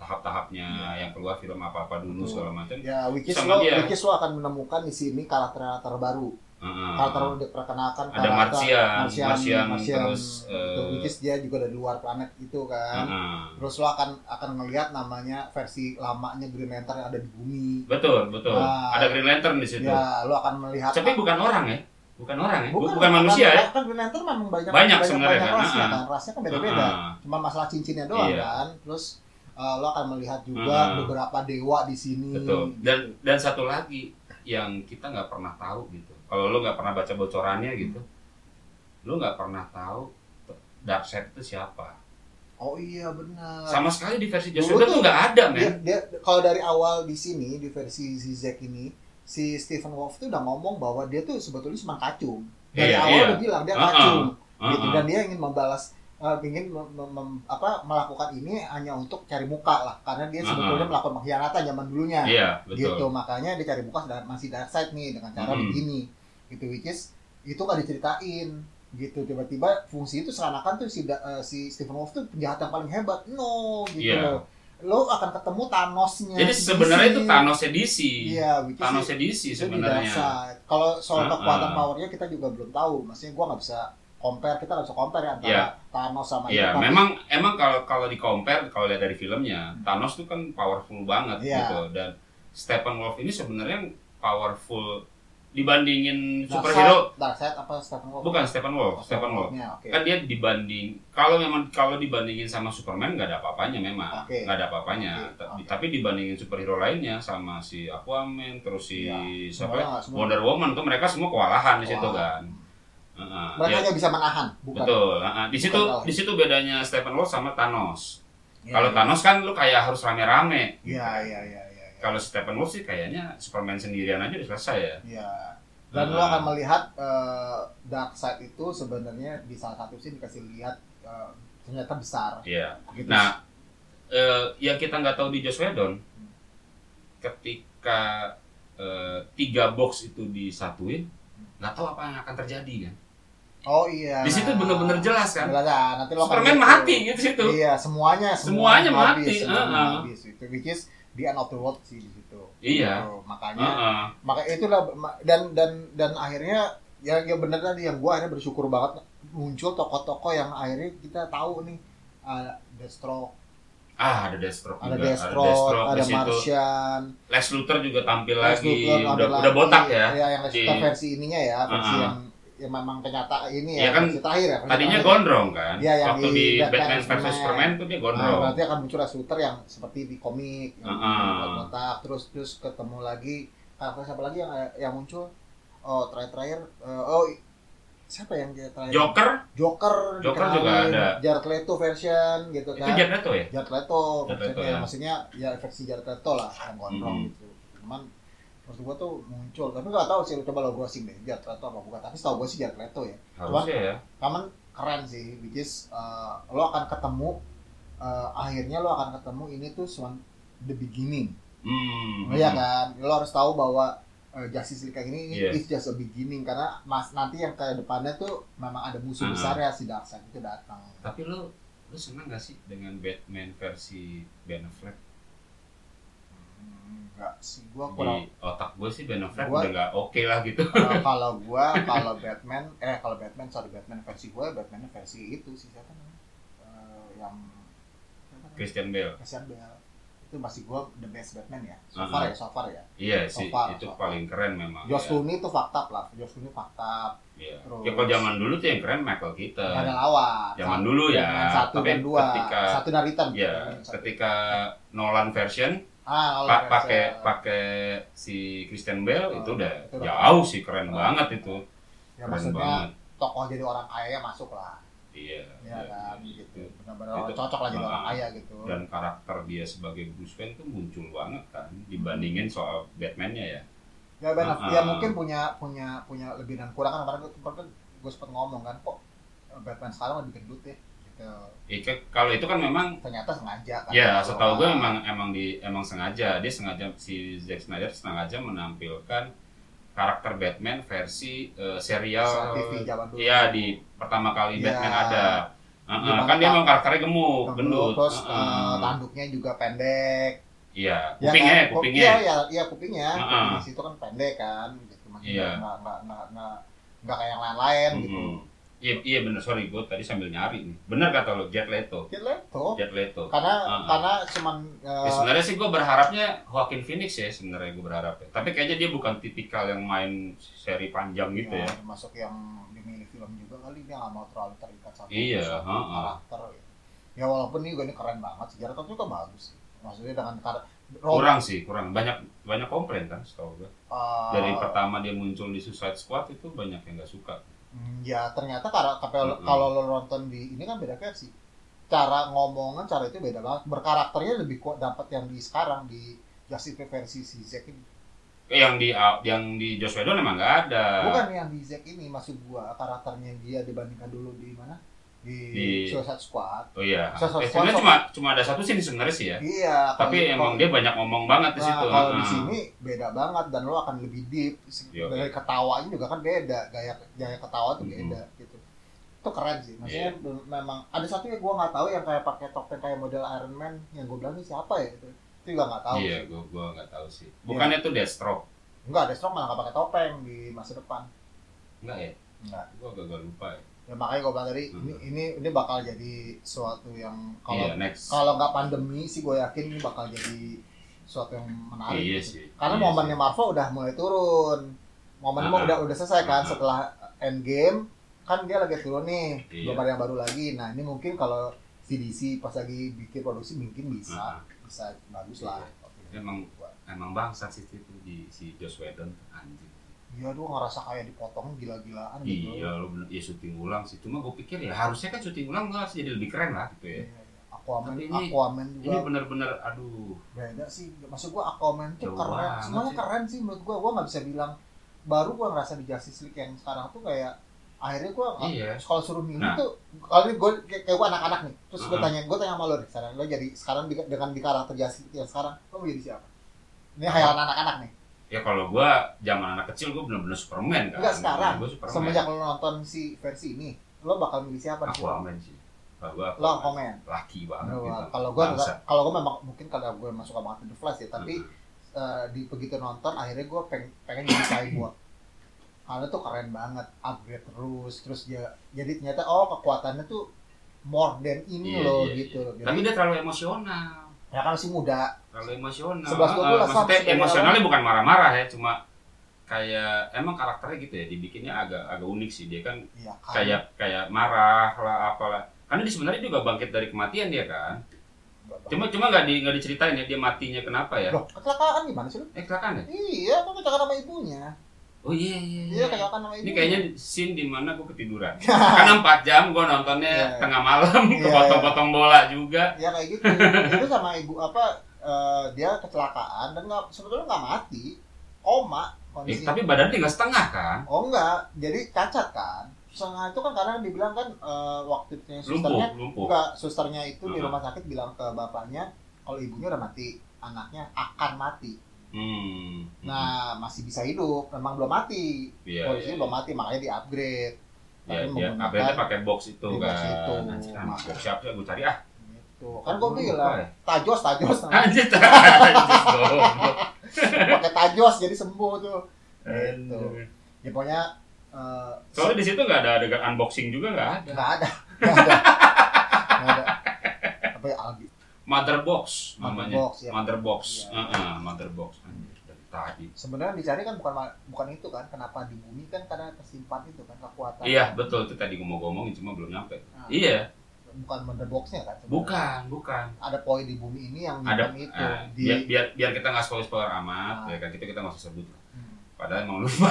tahap-tahap-tahapnya Iya. yang keluar film apa-apa dulu Betul. segala macam. Ya, which is sama lo, dia. which is lo akan menemukan di sini karakter-karakter baru. Heeh. Karakter yang diperkenalkan Ah. ada karakter Martian, Martian, Martian, Martian, terus gitu. eh, which is dia juga dari luar planet itu kan. heeh. Terus lo akan akan ngelihat namanya versi lamanya Green Lantern yang ada di bumi. betul, betul. Ah. ada Green Lantern di situ. Ya, lo akan melihat Iya, Tapi bukan orang ya. Bukan orang ya. Bu- Bukan, manusia ya. Kan Green Lantern memang banyak Banyak sebenarnya, banyak rasnya kan? kan. Rasnya kan beda-beda. Heeh. Cuma masalah cincinnya doang Iya. kan. Terus eh, lo akan melihat juga Heeh. beberapa dewa di sini. Betul. Dan dan satu lagi yang kita nggak pernah tahu gitu. Kalau lu nggak pernah baca bocorannya gitu, lu nggak pernah tahu Darkseid itu siapa. Oh iya benar. Sama ya? sekali di versi Joss Dulu Whedon tuh nggak ada, men. dia, dia kalau dari awal di sini di versi si Zack ini si Stephen Wolf tuh udah ngomong bahwa dia tuh sebetulnya cuma kacung. Dari Iya, awal iya. udah bilang dia Heeh. kacung. Heeh. gitu dan dia ingin membalas eh, ingin mem- mem- mem- apa melakukan ini hanya untuk cari muka lah karena dia sebetulnya Ah. melakukan pengkhianatan zaman dulunya Iya, betul. gitu makanya dia cari muka sedang- masih dark side nih dengan cara Hmm. begini gitu which is itu gak diceritain gitu tiba-tiba fungsi itu seakan-akan tuh si da- eh, si Stephen Wolf tuh penjahat yang paling hebat no gitu Iya. loh lo akan ketemu Thanosnya Jadi Nah, di sebenarnya itu sini. Thanos edisi. iya which is Thanos edisi itu di dark sebenarnya. side. Kalau soal Ah, kekuatan ah. powernya kita juga belum tahu. Maksudnya gua nggak bisa compare, kita nggak bisa compare ya antara Iya. Thanos sama Iya, itu. Tapi- memang emang kalau kalau di compare kalau lihat dari filmnya, Thanos tuh kan powerful banget Hmm. Iya. gitu dan Steppenwolf ini sebenarnya powerful dibandingin Dark superhero Side- Dark Side apa Stephen Wolf? Bukan Stephen Wolf, Stephen Wolf. Wolf-nya, Oke. Kan dia dibanding kalau memang kalau dibandingin sama Superman nggak ada apa-apanya memang. Oke. Kan Nggak ada apa-apanya. Oke, Ta- oke. Tapi dibandingin superhero lainnya sama si Aquaman terus si Iya. siapa Semuanya ya? nggak, semua. Wonder Woman tuh mereka semua kewalahan di situ Wah. kan. Heeh, Mereka ya, hanya bisa menahan, bukan. betul. Heeh, di situ kalah. di situ bedanya Stephen Wolf sama Thanos. Iya, Kalau iya. Thanos kan lu kayak harus rame-rame. Iya, iya, iya, iya. iya. Kalau Stephen Wolf sih kayaknya Superman sendirian aja udah selesai ya. Iya. Dan lo akan melihat eh, Dark Side itu sebenarnya di salah satu sih dikasih lihat eh, ternyata besar. Iya. Gitu. Nah, eh, yang kita nggak tahu di Joss Whedon, ketika eh, tiga box itu disatuin, nggak tahu apa yang akan terjadi kan. oh iya. Di situ benar-benar jelas kan. Jelas, ah. nanti lo akan Superman lihat tuh. mati gitu situ. Iya, semuanya Semuanya mati, habis, semuanya uh-uh. habis itu which is the end of the world sih di situ. Iya. Gitu. Makanya Heeh. maka itulah ma- dan dan dan akhirnya ya yang bener tadi yang gua akhirnya bersyukur banget muncul tokoh-tokoh yang akhirnya kita tahu nih ada Deathstroke, Ah, ada Deathstroke ada juga. Deathstroke, ada di situ. Martian, Les Luthor juga tampil Les lagi. Luthor ada udah, lagi. udah botak ya. Iya, yang Les Di- Luthor versi ininya ya, versi Ah. yang yang memang kenyataan ini ya, Iya kan, versi terakhir ya. versi Tadinya terakhir. gondrong kan. Iya, yang Waktu di di Batman Batman vs Superman. Superman tuh dia Nah, gondrong. berarti akan muncul Les Luthor yang seperti di komik, yang Ah. botak, terus terus ketemu lagi karakter siapa lagi yang yang muncul? Oh, terakhir terakhir oh i- siapa yang dia terakhir? Joker Joker, Joker juga dikenalin, ada. Jared Leto version gitu kan. itu Jared Leto ya. Jared Leto, Jared Leto, maksudnya, ya. maksudnya ya versi Jared Leto lah yang gondrong Mhm. gitu. Cuman menurut gua tuh muncul, tapi gak tahu sih coba lo browsing deh Jared Leto apa bukan. Tapi setahu gua sih Jared Leto ya. Harusnya ya. Cuman keren sih, which is uh, lo akan ketemu uh, akhirnya lo akan ketemu ini tuh cuman the beginning. Hmm. Iya kan? Lo harus tahu bahwa uh, Justice League kayak gini ini Yes. is just a beginning karena mas nanti yang ke depannya tuh memang ada Ah. musuh besar ya si Darkseid itu datang. Tapi lu lu seneng gak sih dengan Batman versi Ben Affleck? Hmm, Enggak sih, gua kurang Di otak gue sih Ben Affleck Gua- udah gak oke lah gitu. [LAUGHS] Kalau- kalau gua kalau Batman eh kalau Batman sorry Batman versi gua Batman versi itu sih siapa namanya Eh, yang siapa namanya? Christian Bale. Christian Bale itu masih gua the best Batman ya so far Uh-huh. ya so far ya Iya sih, So far, itu so far. paling keren memang. ya. Josh Clooney itu fakta lah Josh Clooney fakta Iya. Terus- Ya kalau zaman dulu tuh yang keren Michael Keaton. nggak ada lawan Eh, Zaman Satu- dulu ya. Batman satu Tapi dan dua ketika- satu dan return Iya, Satu. ketika Nolan version ah kalau pa- versi- pakai pakai si Christian Bale Oh, itu udah itu udah jauh sih keren Oh. banget itu. ya, keren maksudnya banget. tokoh jadi orang kaya ya masuk lah Iya. ya iya, kan iya, gitu iya. benar-benar Itu. cocok lah jadi Ah. orang kaya gitu Dan karakter dia sebagai Bruce Wayne tuh muncul banget kan dibandingin soal Batman-nya ya. Ya Ben Ah, ya ah. mungkin punya punya punya lebih dan kurang kan kemarin gue, gue sempat ngomong kan kok Batman sekarang lebih gendut ya gitu. Ika- kalau itu kan memang Ternyata sengaja kan. Ya, Kalau- setahu gue emang emang di emang sengaja dia sengaja si Zack Snyder sengaja menampilkan karakter Batman versi eh, serial Soal TV zaman dulu. Iya di pertama kali Iya. Batman ada. Heeh, Gimana kan dia Pak? memang karakternya gemuk, Yang dulu, gendut. terus Heeh. eh, tanduknya juga pendek. Iya, Ya kupingnya, kan? kupingnya. Iya, iya, iya kupingnya. Ah, Kuping ah. di situ kan pendek kan gitu maksudnya Iya. nggak nggak nggak nggak nggak kayak yang lain-lain gitu. Mhm. Iya, iya bener sorry gue tadi sambil nyari nih. Bener kata lo, Jet Leto. Gitu lah, tuh. Jet Leto. Karena Ah, ah. karena cuman eh, Ya, sebenarnya sih gue berharapnya Joaquin Phoenix ya sebenarnya gue berharapnya. Tapi kayaknya dia bukan tipikal yang main seri panjang gitu ya. termasuk yang dimilih film juga kali dia nggak mau terlalu terikat sama Iya, satu ha-ha. karakter ya. ya walaupun ini juga ini keren banget sejarah tapi juga bagus sih maksudnya dengan karakter kurang sih kurang banyak banyak komplain kan setahu gue eh, dari pertama dia muncul di Suicide Squad itu banyak yang nggak suka mm, ya ternyata karakter kalau Mm-mm. kalau lo nonton di ini kan beda versi cara ngomongan cara itu beda banget berkarakternya lebih kuat dapat yang di sekarang di Justice League versi si Zack ini Eh, yang di yang di Joss Whedon emang nggak ada bukan yang di Zack ini maksud gua karakternya dia dibandingkan dulu di mana di, Di- Suicide Squad oh iya eh, Suicide Squad sebenarnya cuma cuma ada satu sih sebenarnya sih ya iya tapi kalau- emang dia banyak ngomong banget di Nah, situ kalau di Ah. sini beda banget dan lo akan lebih deep. Yo, Gaya ketawanya juga kan beda, gaya gaya ketawa tuh Mhm. beda gitu. Itu keren sih. Maksudnya Iya. be- memang ada satu yang gua nggak tahu yang kayak pakai topeng kayak model Iron Man yang gua bilang ini siapa ya itu. Itu juga nggak tahu. Iya. iya sih. gue gue nggak tahu sih bukannya itu Deathstroke Enggak, Deathstroke malah nggak pakai topeng di masa depan. nggak ya Enggak. gue agak-agak lupa ya Ya makanya gua bilang tadi Mhm. ini ini ini bakal jadi suatu yang iya kalau next kalau nggak pandemi sih gua yakin ini bakal jadi suatu yang menarik. iya gitu. sih Karena iya momennya Marvel udah mulai turun. Momennya Ah. udah udah selesai Ah. kan setelah Endgame kan dia lagi turun nih, Iya. belum ada yang baru lagi. Nah, ini mungkin kalau CDC pas lagi bikin produksi mungkin sih. Ah, bisa bisa bagus lah. Iya. Emang- emang bangsat sih itu di si Joss Whedon anjing Iya tuh ngerasa kayak dipotong gila-gilaan gitu. Iya, lo bener, ya syuting ulang sih. Cuma gue pikir ya harusnya kan syuting ulang gak jadi lebih keren lah gitu ya. Iya, iya. Aquaman, Tapi ini- Aquaman Ini juga bener-bener aduh. beda sih. Maksud gua Aquaman tuh Jauh keren, banget semuanya sih. keren sih menurut gua. Gua nggak bisa bilang baru gua ngerasa di Justice League yang sekarang tuh kayak akhirnya gua nggak- Iya. Terus kalau suruh milih Nah. tuh kalau ini gue kayak gue anak-anak nih terus gue Mm-mm. tanya gue tanya sama lo deh sekarang lo jadi sekarang di- dengan di karakter Justice League yang sekarang lo mau jadi siapa ini khayalan anak-anak nih Ya kalau gua zaman anak kecil gua bener-bener Superman kan. Enggak, sekarang. Gua Superman. semenjak lo nonton si versi ini lo bakal milih siapa aku nih? aman sih. Kalau gua lo Aquaman. komen laki banget Lo- gitu. kalau gue Bangsat. kalau gue memang mungkin kalau gue masuk sama The Flash ya tapi eh, di begitu nonton akhirnya gue peng, pengen jadi [COUGHS] cyborg karena tuh keren banget upgrade terus terus dia jadi ternyata oh kekuatannya tuh more than Iya, ini loh iya, gitu loh. Jadi, Tapi dia terlalu emosional. ya kan masih muda. Terlalu emosional. 11-12 Eh, lah, maksudnya sampai emosionalnya bukan marah-marah ya, cuma kayak emang karakternya gitu ya dibikinnya agak agak unik sih dia kan Iya kan. kayak kayak marah lah apalah karena dia sebenarnya juga bangkit dari kematian dia kan cuma cuma nggak di nggak diceritain ya dia matinya kenapa ya loh, kecelakaan gimana sih lu? eh kecelakaan ya Iya, kan kecelakaan sama ibunya. oh iya iya, Iya, iya. kecelakaan sama ibunya. ini kayaknya scene di mana gue [LAUGHS] ketiduran karena 4 jam gue nontonnya Iya. tengah malam Iya, kepotong-potong bola juga ya kayak gitu. itu sama ibu apa eh, dia kecelakaan dan nggak sebetulnya nggak mati, koma Eh, kondisi. tapi badannya nggak setengah kan Oh enggak, jadi cacat kan. Setengah itu kan karena dibilang kan eh, waktu itu yang susternya lumpuh lumpuh enggak susternya itu di Uh-huh. rumah sakit bilang ke bapaknya kalau ibunya udah mati, anaknya akan mati. hmm. Nah, masih bisa hidup, memang belum mati. iya Polisi Oh, belum mati, makanya di-upgrade. ya, Tapi ya, menggunakan- upgrade-nya pakai box itu Di box kan itu. Anjir, kan Maka- box siapa ya gue cari ah Gitu. Kan gue Lupa bilang, ya. [LAUGHS] tajos, tajos. Nah, anjir [LAUGHS] anjir Gitu. goblok. pakai tajos jadi sembuh tuh. Gitu. Anjir. Ya pokoknya eh, Soalnya di situ nggak ada adegan unboxing juga nggak ada. nggak ada. [LAUGHS] Nggak ada. Nggak ada. Apa ya, Algi? Mother box namanya. Box, ya. Mother box. Iya. Heeh, mother box. Anjir, dari tadi. Sebenarnya dicari kan bukan ma- bukan itu kan, kenapa di bumi kan karena tersimpan itu kan kekuatan. Iya betul itu tadi gue mau ngomongin cuma belum nyampe. Nah, Iya, Bukan mother boxnya kan. sebenarnya. bukan, bukan. Ada poin di bumi ini yang Ada nyimpan itu eh, di biar, biar biar kita nggak spoiler spoiler amat, Ah. ya kan kita kita nggak usah sebut. lah. Hmm. Padahal emang lupa.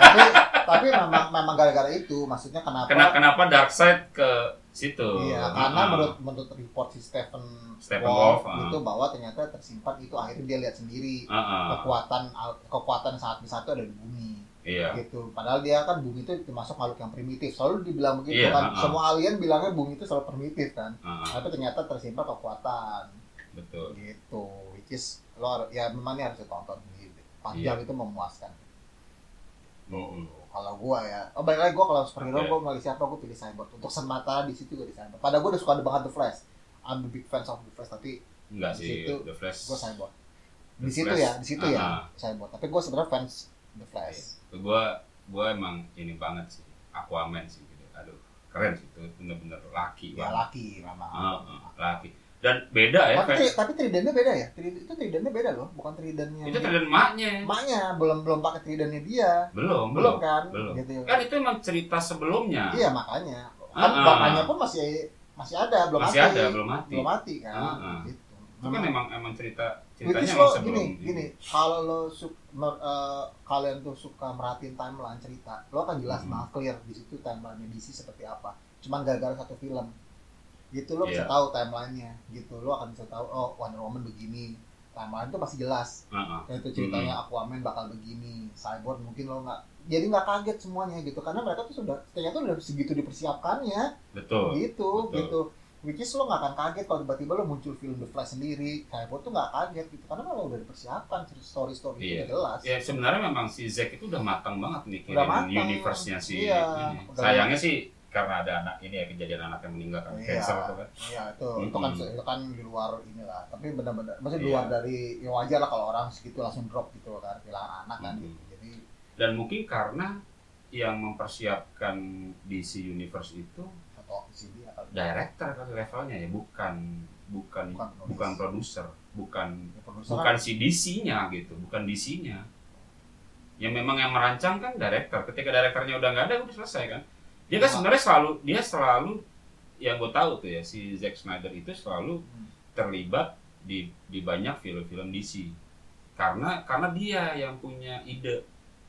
tapi tapi memang memang gara-gara itu maksudnya kenapa [LAUGHS] Kenapa kenapa dark side ke situ? iya karena menurut menurut report si Stephen, Ah, Stephen Wolf, ah. itu bahwa ternyata tersimpan itu akhirnya dia lihat sendiri Heeh, kekuatan al- kekuatan saat bersatu ada di bumi iya. gitu padahal dia kan bumi itu termasuk makhluk yang primitif selalu dibilang begitu Iya, kan ah, ah. semua alien bilangnya bumi itu selalu primitif kan Heeh, tapi ternyata tersimpan kekuatan betul. gitu which is lo har- ya memang ini harus ditonton sendiri empat Iya. jam itu memuaskan Mm-mm. kalau gua ya oh balik lagi gua kalau superhero Oke. gua milih siapa gua pilih cyborg untuk semata di situ gua di cyborg padahal gua udah suka banget the flash I'm the big fans of the flash tapi Enggak Di sih situ, The Flash. gua cyborg The di situ Flash. ya di situ ya Ah. cyborg tapi gua sebenarnya fans the flash Iya. Gue gue emang ini banget sih Aquaman sih gitu. Aduh keren sih itu bener-bener laki ya banget. laki memang Iya. Ah, ah, laki. Dan beda ya. kayak- tapi, tri- tapi tridennya beda ya Trid- itu tridennya beda loh bukan tridennya itu trident maknya. maknya belum belum pakai tridennya dia Belum belum belum. kan belum. gitu Kan itu emang cerita sebelumnya. iya makanya kan Ah, ah. bapaknya pun masih masih ada belum Masih mati ada belum mati. belum mati kan Ah, ah. gitu Itu kan emang emang cerita ceritanya Which is emang lo sebelum. gitu. gini, gini, kalau lo su- mer- eh, kalian tuh suka merhatiin timeline cerita, lo akan jelas Mhm. banget clear di situ timeline DC seperti apa. Cuman gara-gara satu film, gitu lo bisa Iya. tahu timelinenya, gitu lo akan bisa tahu oh Wonder Woman begini, timeline tuh pasti jelas. Ah, ah. Kayak itu ceritanya Aquaman bakal begini, Cyborg mungkin lo nggak, jadi nggak kaget semuanya gitu, karena mereka tuh sudah ternyata udah segitu dipersiapkannya Betul. gitu betul. gitu which is lo nggak akan kaget kalau tiba-tiba lo muncul film The Flash sendiri Cyborg tuh nggak kaget gitu karena lo udah dipersiapkan story story itu Iya. udah jelas Ya sebenarnya memang si Zack itu udah matang banget mikirin Udah matang. universe-nya si Iya, ini. udah- Sayangnya sih karena ada anak ini ya kejadian anak yang meninggal kan Iya. cancer itu kan. Iya, itu itu kan Mm-mm. itu kan di luar inilah tapi benar-benar maksudnya di Iya. luar dari ya wajar lah kalau orang segitu langsung drop gitu kan kehilangan anak kan Mm-mm. gitu jadi dan mungkin karena yang mempersiapkan DC Universe itu atau si dia kali director kali levelnya ya bukan bukan bukan bukan produser bukan Ya, produser bukan si DC-nya gitu bukan DC-nya yang memang yang merancang kan director ketika direkturnya udah nggak ada udah selesai kan dia kan Nah. sebenarnya selalu dia selalu yang gue tahu tuh ya si Zack Snyder itu selalu Hmm. terlibat di di banyak film-film DC karena karena dia yang punya ide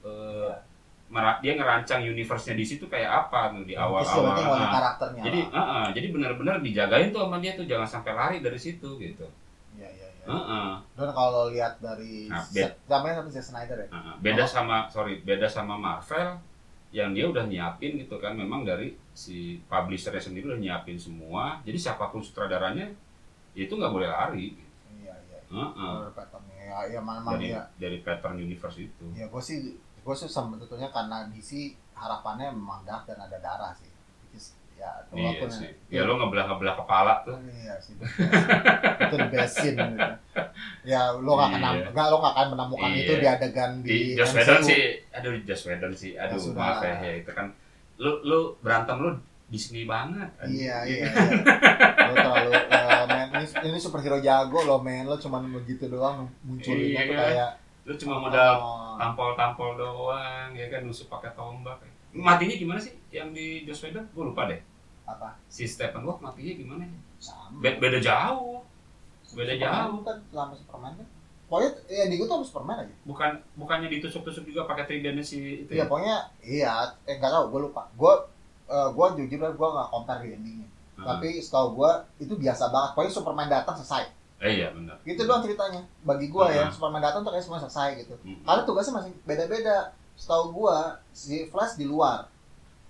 eh, mera- dia ngerancang universe-nya DC itu kayak apa tuh di kan. Lukis dia awal-awal berarti Ah, ngelawan karakternya jadi ah, ah, jadi benar-benar dijagain tuh sama dia tuh jangan sampai lari dari situ gitu Iya, iya, iya. Ah, ah. dan kalau lihat dari Nah, set- namanya sama Zack Snyder ya Nah, beda Oh. sama sorry beda sama Marvel yang dia udah nyiapin gitu kan memang dari si publishernya sendiri udah nyiapin semua jadi siapapun sutradaranya itu nggak boleh lari gitu. iya iya Heeh. Kalau patternnya ya, ya memang dari ya dari pattern universe itu Ya gue sih, gue sih sebetulnya karena DC harapannya memang dark dan ada darah sih. Which is, ya iya walaupun sih ya lo ngebelah ngebelah kepala tuh Iya sih. itu the best scene gitu. Ya lo gak akan Iya. nam- nggak- lo gak akan menemukan Iya. itu di adegan di, di Joss MCU. Whedon sih aduh di Joss Whedon sih aduh Ya sudah. maaf ya, ya itu kan lu lu berantem lu Disney banget. kan? Iya iya. iya. lo terlalu eh, men, ini, ini superhero jago lo men lo cuman begitu doang munculinnya Iya, tuh kan? kayak Lu cuma modal oh, tampol-tampol doang, ya kan nusuk pakai tombak. Matinya gimana sih yang di Joss Whedon? Gue lupa deh. apa? Si Steppenwolf matinya gimana? ya? Sama. Be- beda jauh. Beda Superman jauh. kan lama Superman kan. Pokoknya ya di gua tuh sama Superman aja. Bukan bukannya ditusuk-tusuk juga pakai tridentnya si itu ya? Iya pokoknya iya eh enggak tahu gua lupa. Gua eh, gua jujur aja gua enggak compare di endingnya. Ah. Tapi setahu gua itu biasa banget. Pokoknya Superman datang selesai. Eh, iya benar. Gitu doang ceritanya. Bagi gua ya Ah. Superman datang tuh kayak semua selesai gitu. Mm. Karena tugasnya masih beda-beda. Setahu gua si Flash di luar.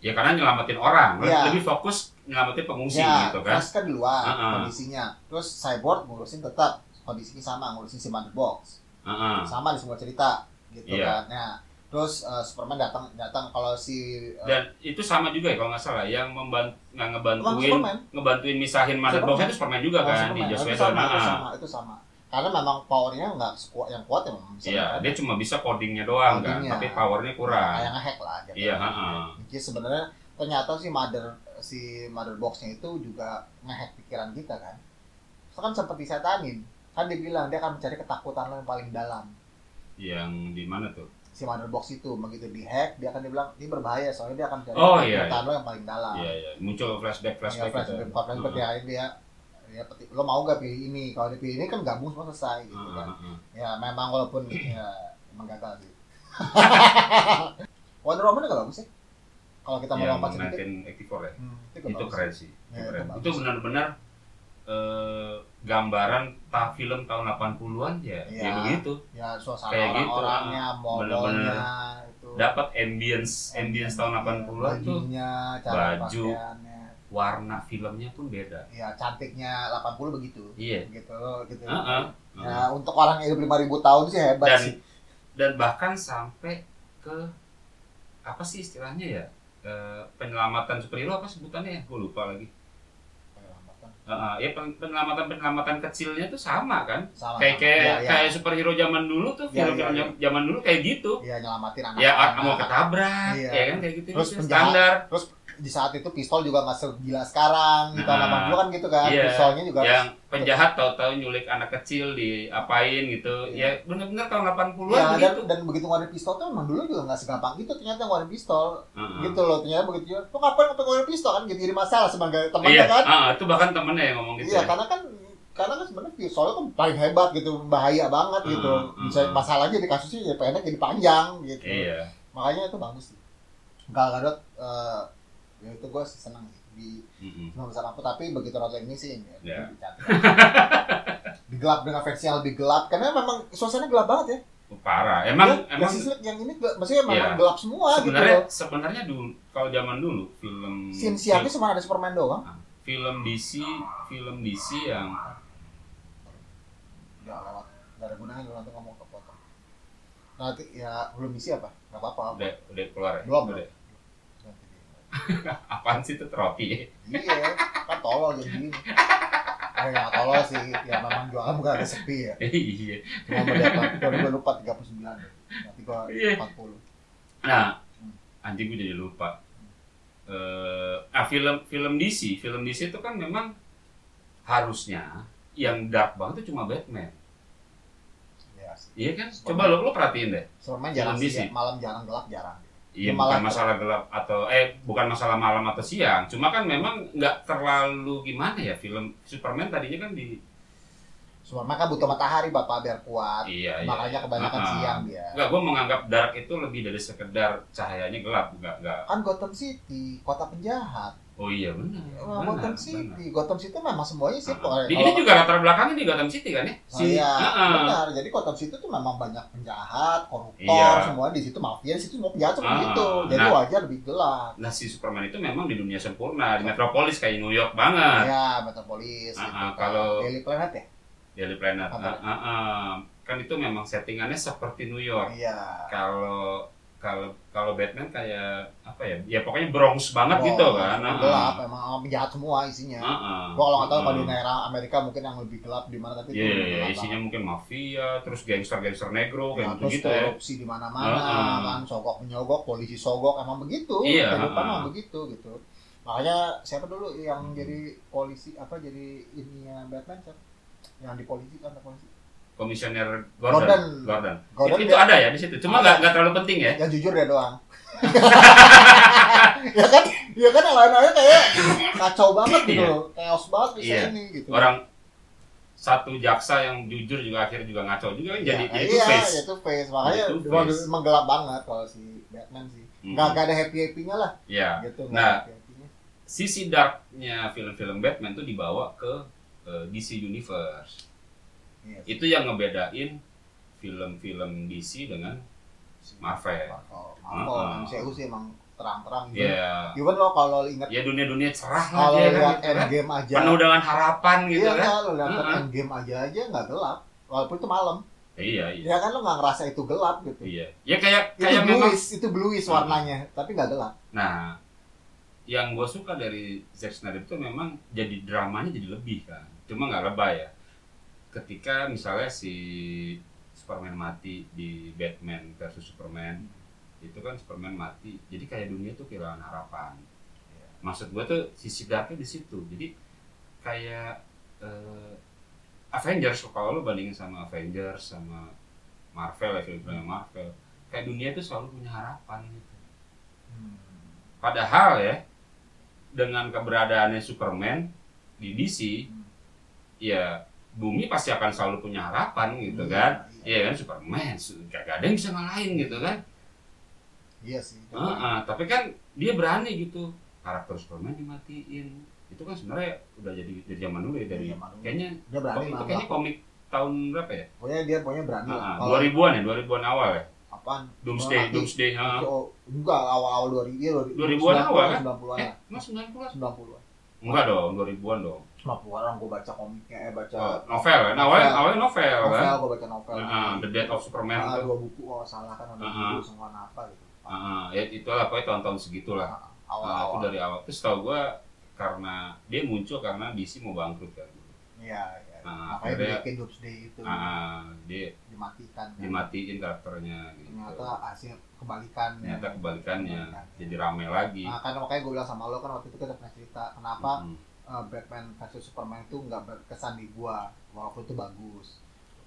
Ya karena nyelamatin orang, Lu Iya. lebih fokus nyelamatin pengungsi ya, gitu kan. Flash kan di luar Ah, ah. kondisinya. Terus Cyborg ngurusin tetap kondisinya sama ngurusin si Mother Box. Heeh. sama di semua cerita Ah. gitu Iya. kan. Nah, terus eh, Superman datang datang kalau si eh, Dan itu sama juga ya kalau nggak salah yang membantu nggak emang ngebantuin ngebantuin misahin Mother Superman. Box itu Superman juga Emang kan di Oh, Superman. Joss ya. itu Whedon. sama, itu Heeh. sama, itu sama. Karena memang powernya nggak sekuat yang kuat ya memang bisa Iya, dia cuma bisa codingnya doang kan, Codingnya. tapi powernya kurang. Kayak ngehack lah. Gitu. Iya, heeh. Jadi sebenarnya ternyata si mother si mother boxnya itu juga ngehack pikiran kita kan. Itu kan seperti setanin kan dia bilang dia akan mencari ketakutan lo yang paling dalam Yang di mana tuh? si mother box itu begitu dihack dia akan dia bilang ini berbahaya soalnya dia akan mencari Oh, iya, ketakutan lo yang paling dalam Iya, iya. Muncul flashback flashback. flashback ya, Ah. flashback gitu. flashback Heeh. ya dia ya peti- lo mau gak pilih ini kalau dia pilih ini kan gabung semua selesai gitu Heeh, kan heeh. ya memang walaupun [CLEARS THROAT] ya, emang gagal sih [LAUGHS] Wonder Woman gak bagus sih kalau kita mau Yang lompat sedikit 1984 ya. hmm, itu, gak Itu bagus. keren sih. Itu Ya, itu keren. bagus. Itu benar-benar eh, gambaran ta film tahun 80-an ya, ya Iya. begitu. ya suasana Kayak gitu, orang-orangnya Bener-bener. mall-mallnya itu Dapat ambience ambience tahun 80-an tuh bajunya, cara baju. pakaiannya warna filmnya pun beda. ya cantiknya 80 begitu Iya. gitu loh gitu Heeh. ya untuk orang yang hidup 5000 tahun sih hebat ah. Dan sih dan bahkan sampai ke apa sih istilahnya ya? Eh, penyelamatan superhero apa sebutannya ya? Gue lupa lagi. Heeh, ya pen- penyelamatan-penyelamatan kecilnya tuh sama kan? Sama, Kayak sama. kayak Ya, ya. kayak superhero zaman dulu tuh, Ya, film-film ya, ya. zaman dulu kayak gitu. Iya nyelamatin anak. Ya a- mau ketabrak, Iya. ya kan kayak gitu. Terus gitu, penjahat. standar. Di saat itu pistol juga nggak segila sekarang. Di tahun Nah. 80 kan gitu kan. Iya. Pistolnya juga Yang penjahat tahu-tahu nyulik anak kecil diapain gitu. Ya Iya. benar-benar tahun 80-an Ya, dan, begitu. dan begitu ngeluarin pistol tuh emang dulu juga nggak segampang gitu ternyata ngeluarin pistol Heeh. gitu loh ternyata begitu juga lo ngapain ngapain ngeluarin pistol kan jadi jadi masalah sebagai temannya Iya, kan ah, itu bahkan temennya yang ngomong gitu. iya ya. karena kan karena kan sebenarnya pistolnya kan paling hebat gitu bahaya banget gitu Hmm, hmm. misalnya masalahnya di kasusnya ya pendek jadi panjang gitu Iya. makanya itu bagus sih Gal Gadot eh, ya itu gue seneng sih di Mm-mm. cuma besar aku tapi begitu nonton ini sih ya, Ya. lebih cantik. digelap dengan versi yang lebih gelap karena memang suasana gelap banget ya Parah. Emang Ya, emang Justice League yang ini gel- maksudnya memang Iya. gelap semua gitu sebenarnya Hmm, loh sebenarnya dulu kalau zaman dulu film scene siapnya iya. cuma ada Superman doang film DC film DC yang udah lewat gak ada gunanya lu nanti ngomong ke potong nanti ya belum isi apa gak apa-apa udah udah keluar ya. Belum. Udah. Nanti dia- Apaan sih itu trofi? iya kan tolol jadi gini Eh, gak tolol sih, ya memang jualan bukan ada sepi ya [LAUGHS] Iya. Cuma berapa, gue lupa 39 Nanti gua Iya. 40 Nah, anjing gue jadi lupa. Eh, ah film film DC, film DC itu kan memang harusnya yang dark banget itu cuma Batman. Ya sih Iya kan? Coba lo lo perhatiin deh. Superman jarang sih, ya, Ambisi. malam jarang gelap jarang. Iya Ya, bukan malah- masalah gelap atau eh bukan masalah malam atau siang. Cuma kan memang nggak terlalu gimana ya film Superman tadinya kan di Superman kan butuh matahari bapak biar kuat, iya iya. makanya kebanyakan Ah, ah. siang dia. Enggak, gue menganggap dark itu lebih dari sekedar cahayanya gelap, enggak enggak. Kan Gotham City kota penjahat. Oh iya benar. Wah, benar, benar. Gotham City, Gotham City memang semuanya Ah, sih pokoknya. Di ini juga latar belakangnya di Gotham City kan ya? Oh, iya, Ah, ah. benar. Jadi Gotham City tuh memang banyak penjahat, koruptor, Iya. semua di situ mafia, di situ semua penjahat seperti Ah, itu. Jadi nah. wajar lebih gelap. Nah si Superman itu memang di dunia sempurna, di metropolis kayak New York banget, Ya, metropolis. Ah, gitu ah, kan. kalau- Daily Planet ya. Daily Planet. Apa? Ah, ah, ah. Kan itu memang settingannya seperti New York. Iya. Kalau kalau kalau Batman kayak apa ya? Ya pokoknya Bronx banget Wow, gitu kan. Ah, Oh, Gelap, emang penjahat semua isinya. ah. Ah, Gua kalau nggak tahu ah. kalau di daerah Amerika mungkin yang lebih gelap di mana tapi Iya, itu iya, iya, gelap isinya mungkin mafia, terus gangster-gangster negro, banget. kayak Ya, terus gitu-gitu ya. korupsi di mana-mana, Heeh. kan sogok menyogok, polisi sogok, emang begitu. Iya, Kehidupan heeh. Hmm. emang begitu gitu. makanya siapa dulu yang jadi polisi apa jadi ininya Batman siapa yang di polisi kan polisi komisioner Gordon. Gordon. Gordon. Gordon itu, itu dia- ada ya di situ. Cuma Ada. nggak nggak terlalu penting ya. yang jujur dia doang [LAUGHS] ya kan ya kan yang lain-lainnya kayak kacau banget gitu Iya. loh chaos banget bisa Iya. ini gitu Orang satu jaksa yang jujur juga akhirnya juga ngaco juga kan jadi Ya, jadi iya, face. ya itu face makanya Jadi two emang- face. emang gelap banget kalau si Batman sih Mm. nggak nggak ada happy happynya lah Iya. gitu nggak Nah. happy happynya Sisi darknya film-film Batman tuh dibawa ke eh, DC Universe. Iya. Itu yang ngebedain film-film DC dengan Iya, Marvel. Marvel Marvel Ah. MCU sih emang terang-terang gitu Ya, even lo kalau inget ya dunia-dunia cerah lah kalau dia kan, lihat gitu kan. Endgame aja Penuh dengan harapan gitu iya kan. kan lo lihat Heeh. Endgame aja aja nggak gelap walaupun itu malam Iya, iya. ya kan lo nggak ngerasa itu gelap gitu Iya. Ya kayak itu kayak memang Hmm. bluish itu bluish warnanya tapi nggak gelap Nah, yang gue suka dari Zack Snyder itu memang jadi dramanya jadi lebih kan. Cuma nggak lebay ya. Ketika misalnya si Superman mati di Batman versus Superman, itu kan Superman mati. Jadi kayak dunia tuh kehilangan harapan. Maksud gue tuh sisi darknya di situ. Jadi kayak eh, Avengers kalau lu bandingin sama Avengers sama Marvel ya film-film Marvel, kayak dunia tuh selalu punya harapan gitu. Hmm. Padahal ya dengan keberadaannya Superman di DC, ya bumi pasti akan selalu punya harapan gitu kan. iya, Iya kan Superman, su- gak gak ada yang bisa ngalahin gitu kan. iya sih Heeh, tapi kan dia berani gitu. Karakter Superman dimatiin. Itu kan sebenarnya udah jadi dari zaman dulu ya dari Iya, malu. kayaknya dia berani komik, itu banget kayaknya komik tahun berapa ya? pokoknya dia pokoknya berani lah Heeh, kalau 2000-an ya, 2000-an awal ya. apaan Doomsday, mati. Doomsday. heeh. Oh, enggak awal-awal 2000 iya 2000-an awal kan? 90-an Eh, lah. emang 90-an? 90-an. Enggak dong, 2000-an dong. 90-an orang gua baca komiknya eh baca Oh, novel kan? Awalnya, awalnya novel kan? novel, gua baca novel. Heeh, The Death of Superman Ah, itu. dua buku kalau nggak salah kan ada buku semua apa gitu. Heeh, ya itu lah pokoknya tahun-tahun segitulah. Ah, Nah, itu Awal-awal. dari awal. Terus tau gue karena dia muncul karena DC mau bangkrut kan. Iya, iya. Ah, Makanya akhirnya- dibikin Doomsday itu Ah, dia dimatikan. kan. dimatiin karakternya gitu. Ternyata Hmm. hasil kebalikan. Ternyata kebalikannya Kebalikannya. jadi rame lagi. Nah, kan makanya gue bilang sama lo kan waktu itu kita pernah cerita kenapa Mm. eh, Batman versus Superman itu nggak berkesan di gua walaupun itu bagus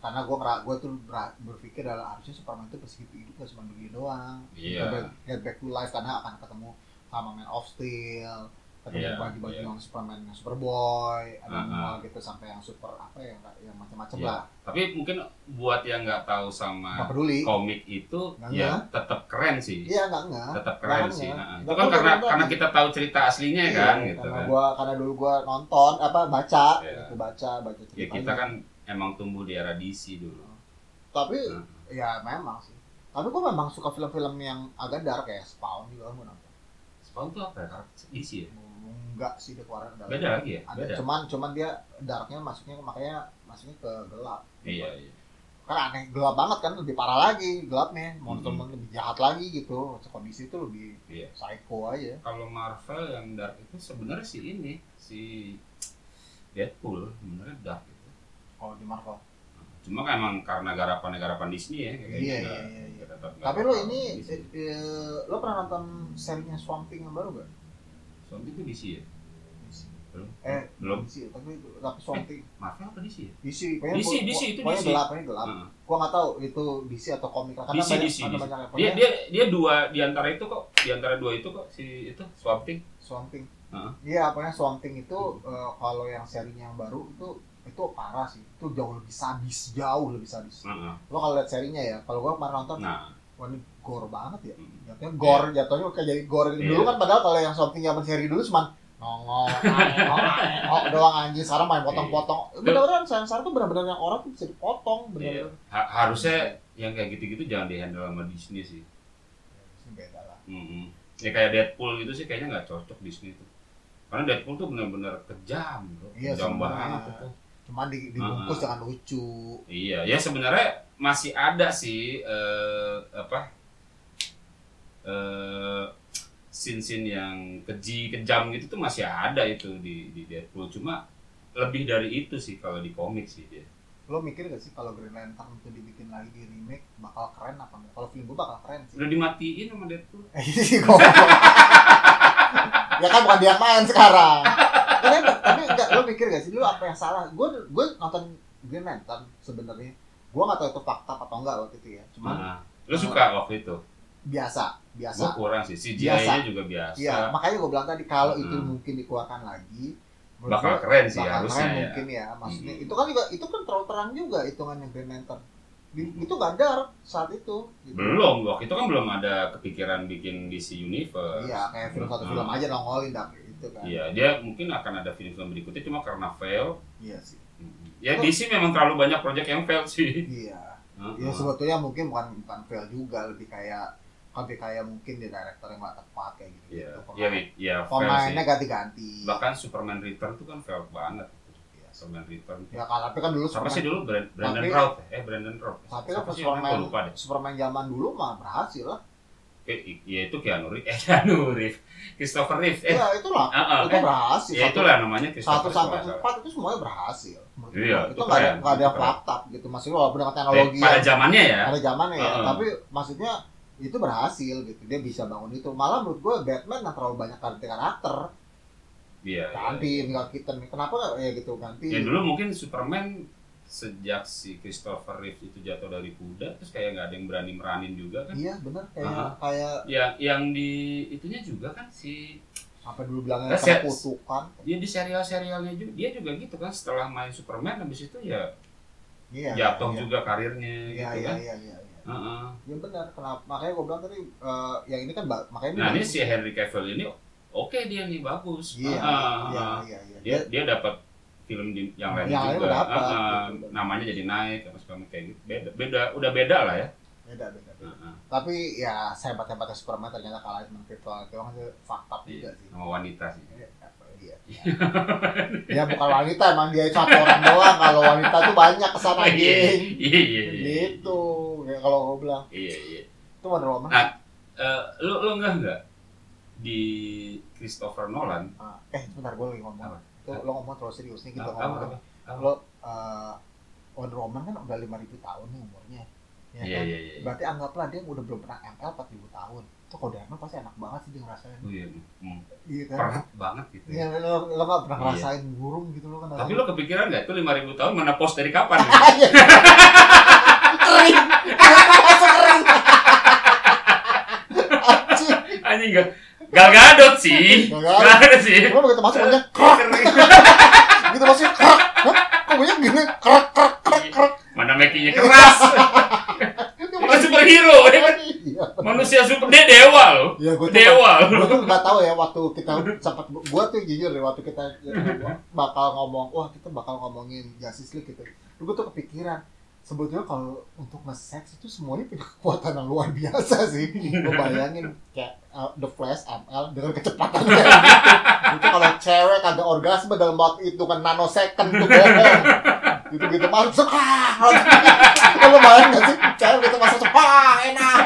karena gua ngera- gua tuh ber- berpikir adalah harusnya Superman itu begitu hidup gak cuma begini doang Iya. Get back- get back to life karena akan ketemu sama Man of Steel ketemu Iya, baju-baju iya. yang Superman yang Superboy ada Ah, semua gitu sampai yang super apa ya yang macam-macam Iya. lah Tapi mungkin buat yang nggak tahu nggak sama peduli komik itu Nggak, ya tetap keren sih. iya nggak nggak Tetap keren Makanya. sih. Nah, itu Nggak kan perlu karena dibagi. karena kita tahu cerita aslinya Iya, kan gitu karena kan. gua karena dulu gua nonton apa baca Iya. gitu baca baca Ya kita kan emang tumbuh di era DC dulu. tapi Nah. ya memang sih tapi gue memang suka film-film yang agak dark kayak Spawn juga gue nonton Spawn tuh apa ya? Karakter DC ya? enggak sih The Quarren dark Beda lagi ya? ada Beda. cuman cuman dia darknya masuknya makanya masuknya ke gelap Iya, iya. karena aneh gelap banget kan lebih parah lagi gelapnya monster Mhm. lebih jahat lagi gitu kondisi itu lebih Iya. psycho aja Kalau Marvel yang dark itu sebenarnya si ini, si Deadpool sebenarnya dark itu. kalau di Marvel Cuma kan emang karena garapan-garapan Disney ya. kayaknya Iya, kita- iya, iya, iya. kita tetap tapi garapan lo ini Disney. eh, eh, lo pernah nonton serinya Swamp Thing yang baru gak? Soalnya itu DC ya? Belum. eh Belum. DC tapi tapi Swamp Thing Marvel apa DC ya? DC kayaknya DC, gua- DC, gua- itu pokoknya DC. gelap pokoknya gelap Heeh. gua nggak tahu itu DC atau komik karena DC, banyak, DC. ada banyak yang Dia punya dia dia dua di antara itu kok, di antara dua itu kok si itu Swamp Thing. Swamp Thing Heeh. iya pokoknya Swamp Thing itu eh, kalau yang serinya yang baru itu itu parah sih itu jauh lebih sadis jauh lebih sadis Heeh. lo kalau lihat serinya ya kalau gua kemarin nonton Nah, wah ini gore banget ya mm. jatuhnya gore jatuhnya kayak jadi gore gitu. dulu Iya. kan padahal kalau yang Swamp Thing zaman seri dulu cuman nongol, nongol, nongol doang anjing sekarang main Iya. potong-potong bener-bener sayang sekarang tuh bener-bener yang orang tuh bisa dipotong Iya. bener-bener Ha- harusnya yang kayak gitu-gitu jangan dihandle sama Disney sih. Iya. Ini beda lah Mhm. Ya kayak Deadpool gitu sih kayaknya nggak cocok di sini tuh. Karena Deadpool tuh benar-benar kejam, bro. Iya, kejam sebenarnya. banget itu. cuman di- dibungkus Ah. dengan lucu Iya, ya sebenarnya masih ada sih eh, apa eh scene-scene yang keji, kejam gitu tuh masih ada itu di, di Deadpool. Cuma lebih dari itu sih kalau di komik sih dia. lo mikir gak sih kalau Green Lantern itu dibikin lagi di remake bakal keren [LAUGHS] apa enggak? Kalau film gue bakal keren sih. Udah dimatiin sama Deadpool. Eh, goblok. gitu. ya kan bukan dia yang main sekarang Tapi kan, tapi enggak lo mikir gak sih lu apa yang salah gue gue nonton Green Lantern sebenarnya gue nggak tahu itu fakta apa enggak waktu itu ya cuman Nah, lu suka waktu itu? biasa Gua biasa kurang sih. CGI-nya Biasa. juga biasa. iya makanya gue bilang tadi kalau itu Hmm. mungkin dikeluarkan lagi menurut Bakal gua keren sih bakal harusnya keren ya. mungkin ya maksudnya Hmm. itu kan juga itu kan terlalu terang juga hitungannya Green Lantern Di- itu nggak dark saat itu gitu. Belum, waktu itu kan belum ada kepikiran bikin DC Universe. iya kayak film satu Hmm. film aja nongolin dak itu kan Iya, dia mungkin akan ada film-film berikutnya cuma karena fail. iya sih Ya DC memang terlalu banyak project yang fail sih. iya Ya Heeh. sebetulnya mungkin bukan bukan fail juga lebih kayak lebih kayak mungkin di director yang nggak tepat kayak gitu. Iya, Gitu. iya, iya, fail sih. Pemainnya ganti-ganti. Bahkan Superman Return tuh kan fail banget. Iya. Superman Return. Ya kan, tapi kan dulu Siapa sih Superman, dulu Brand- Brandon Tapi- Routh? Eh Brandon Routh. tapi kan Siapa sih Superman, namanya? Gua lupa deh. Superman zaman dulu mah berhasil lah. Eh, i- ya itu Keanu Reeves. [LAUGHS] Eh Keanu Reeves. Christopher Reeves. Eh, Iya, itulah. ah, ah, itu kan? berhasil. Ya Satu- itulah namanya satu Christopher sampai kalau nggak salah. empat itu semuanya berhasil. Menurut Iya, gua. itu itu nggak ada keren, nggak ada itu yang keren. flatap gitu maksudnya walaupun dengan Eh, teknologi pada yang- zamannya ya. ada zamannya ya Heeh. tapi maksudnya itu berhasil gitu dia bisa bangun itu malah menurut gue Batman nggak terlalu banyak ganti karakter Iya. iya. ganti nggak kita kenapa nggak ya gitu ganti Ya dulu mungkin Superman sejak si Christopher Reeve itu jatuh dari kuda terus kayak nggak ada yang berani meranin juga kan. Iya bener kayak Aha. kayak Ya yang di itunya juga kan si apa dulu bilangnya Nah, saya- kutukan. dia di serial-serialnya juga dia juga gitu kan setelah main Superman habis itu ya Iya. jatuh iya. juga karirnya Iya Ya, gitu iya kan. iya iya. iya. Heeh. Ya benar kenapa makanya gue bilang tadi eh, yang ini kan ba- makanya Nah ini bagus. si Henry Cavill ini oke dia nih bagus. Iya. Heeh, Iya heeh. iya iya. Dia dia dapat film di, yang lain Yang lain juga. udah dapat, Heeh, gitu. namanya jadi naik apa segala macam kayak gitu. Beda, beda udah beda lah ya. Beda beda. beda. Heeh. Tapi ya sehebat hebatnya Superman ternyata kalah sama virtual itu kan fakta Iya. juga sih. Sama wanita sih. Iya. ya bukan wanita emang dia satu orang doang kalau wanita tuh banyak kesana [LAUGHS] Iya, geng iya, iya, iya. gitu ya kalau gue bilang Iya, iya. itu Wonder Woman Nah, eh, lu lu enggak enggak di Christopher Nolan? Ah, eh sebentar gue lagi ngomong Apa? itu lo ngomong terlalu serius nih Apa, kita ngomong apa, lagi. apa? apa? lo eh Wonder Woman kan udah 5000 tahun nih umurnya ya Iya, kan? iya, iya. berarti anggaplah dia udah belum pernah ML 4000 tahun itu kalau dia ML pasti enak banget sih dia ngerasain Oh, iya. Hmm, gitu kan Berat banget gitu. ya, Ya. lo, lo gak pernah Iya. ngerasain burung gitu lo kan Tapi lo kepikiran nggak itu 5000 tahun mana pos dari kapan? [LAUGHS] gitu? [LAUGHS] Iya. kering langsung kering anjing Anjing enggak. Gal gadot sih. Gal Gal Gadot. gadot sih. lo begitu masuk bunyinya krek gitu masuk krek Hah? kok bunyinya gini krek krek krek krek Mana makinya keras. Itu Bukan superhero. dia kan Iya. Manusia super dia dewa loh. Ya gue tuh Dewa gue loh. tuh nggak tahu ya waktu kita sempat gue tuh jujur deh waktu kita ya, bakal ngomong wah kita bakal ngomongin Justice League gitu. Gue tuh kepikiran sebetulnya kalau untuk nge-sex itu semuanya punya kekuatan yang luar biasa sih. Gue bayangin kayak uh, The Flash ML dengan kecepatan kayak gitu. Itu kalau cewek ada orgasme dalam waktu itu kan nanosecond tuh bohong. Gitu-gitu masuk ah, sekah. Kalau bayangin nggak sih cewek gitu masuk sekah enak.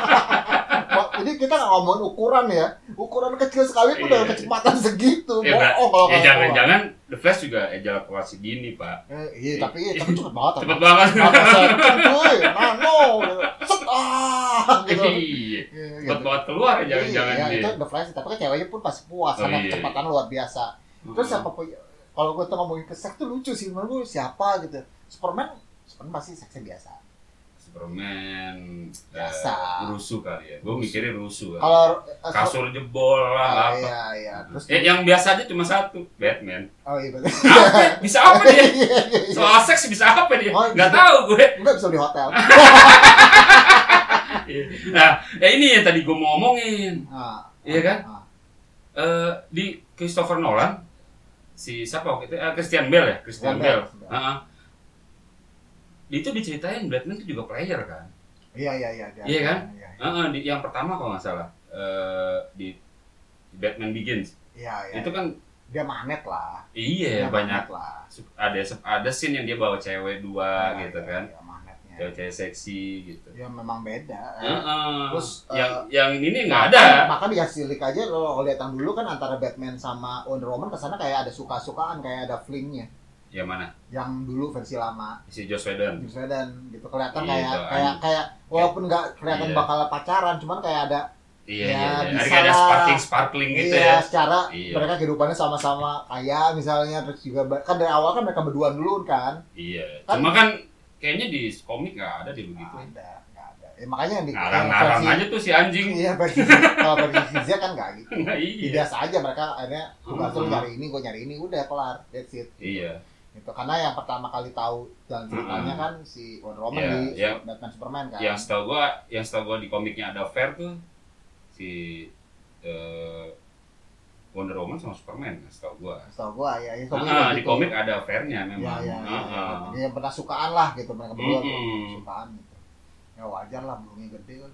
Wah, Ini kita nggak ngomongin ukuran ya. Ukuran kecil sekali pun Iya. dengan kecepatan segitu. Ya, Pak. Bohong Oh, Ya kalau nggak ngomong. jangan-jangan The Flash juga ejakulasi dini, Pak. Eh, Iya, tapi iya, tapi cepet banget. Cepet banget. Nano second, cuy, nano, gitu. set ah, gitu. [LAUGHS] Iya. Iya, Cepet gitu. banget keluar ya jangan-jangan Iya, dia. itu The Flash, tapi kan ceweknya pun pasti puas Oh, karena iya. kecepatan luar biasa. Terus Mm-mm. apa pun- kalau gue tuh ngomongin ke seks tuh lucu sih, menurut gue siapa gitu. Superman, Superman pasti seksnya biasa. Superman eh, Biasa. rusuh kali ya. Gue mikirnya rusuh. Kan. Kalau eh, eh, Kasur jebol ah, lah apa. iya, iya. Terus Eh, yang biasa aja cuma satu, Batman. oh iya betul. Apa? bisa apa [LAUGHS] Iya, dia? iya, iya. Soal seks bisa apa dia? Oh, Nggak bisa. tahu gue. Enggak bisa di [LAUGHS] hotel. Ah, Nah, ya ini yang tadi gue mau ngomongin. Ah, Iya kan? ah. Eh, di Christopher Nolan, si siapa waktu itu? Eh, Christian Bale ya? Christian Christian Bale. Bale. Heeh. Itu diceritain Batman itu juga player kan? Iya, iya, iya. Iya kan? Iya, iya. Heeh, di, yang pertama kalau nggak salah. eh, di Batman Begins. Iya, iya. Itu kan Dia magnet lah. Iya Dia banyak magnet lah. ada ada scene yang dia bawa cewek dua Iya, gitu iya, kan iya, magnetnya. cewek-cewek seksi gitu. Ya memang beda. Heeh. Terus, yang eh, yang ini Ah, Ya, nggak ada. Makanya- Makanya ya silik aja lo lihat yang dulu kan antara Batman sama Wonder Woman kesana kayak ada suka-sukaan kayak ada flingnya. Yang mana? Yang dulu versi lama Si Joss Whedon. James Whedon gitu kelihatan Iya, kayak itu kayak kayak walaupun nggak Iya. kelihatan bakal pacaran cuman kayak ada Iya, iya, Ya, iya. Ada bisa kayak ada lah. sparkling sparkling gitu iya, ya. secara Iya. mereka kehidupannya sama-sama kaya misalnya terus juga ba- kan dari awal kan mereka berduaan dulu kan. Iya. Kan- Cuma kan kayaknya di komik nggak ada di begitu. Nggak ada, nggak ada. Ya, makanya yang di Gitu. Ngarang-ngarang versi- aja tuh si anjing. Iya, versi kalau versi Zia kan nggak gitu. [LAUGHS] Nah, iya. Biasa aja mereka akhirnya tugas lu Hmm. nyari ini, gue nyari ini, udah kelar, that's it. Iya. Hmm. Gitu. Karena yang pertama kali tahu jalan ceritanya kan si Wonder Woman Iya, di iya. Batman Superman kan. Yang setahu gua, yang setahu gua di komiknya ada Fair tuh si eh, Wonder Woman sama Superman, setahu gua. Setahu gua ya, ya setahu gua Ah, gitu. di komik ada fairnya ya, memang. ya, ya, Ah, ya. ah. Jadi yang pernah sukaan lah gitu mereka berdua tuh, Mm-mm. sukaan gitu. Ya wajar lah belumnya gede kan.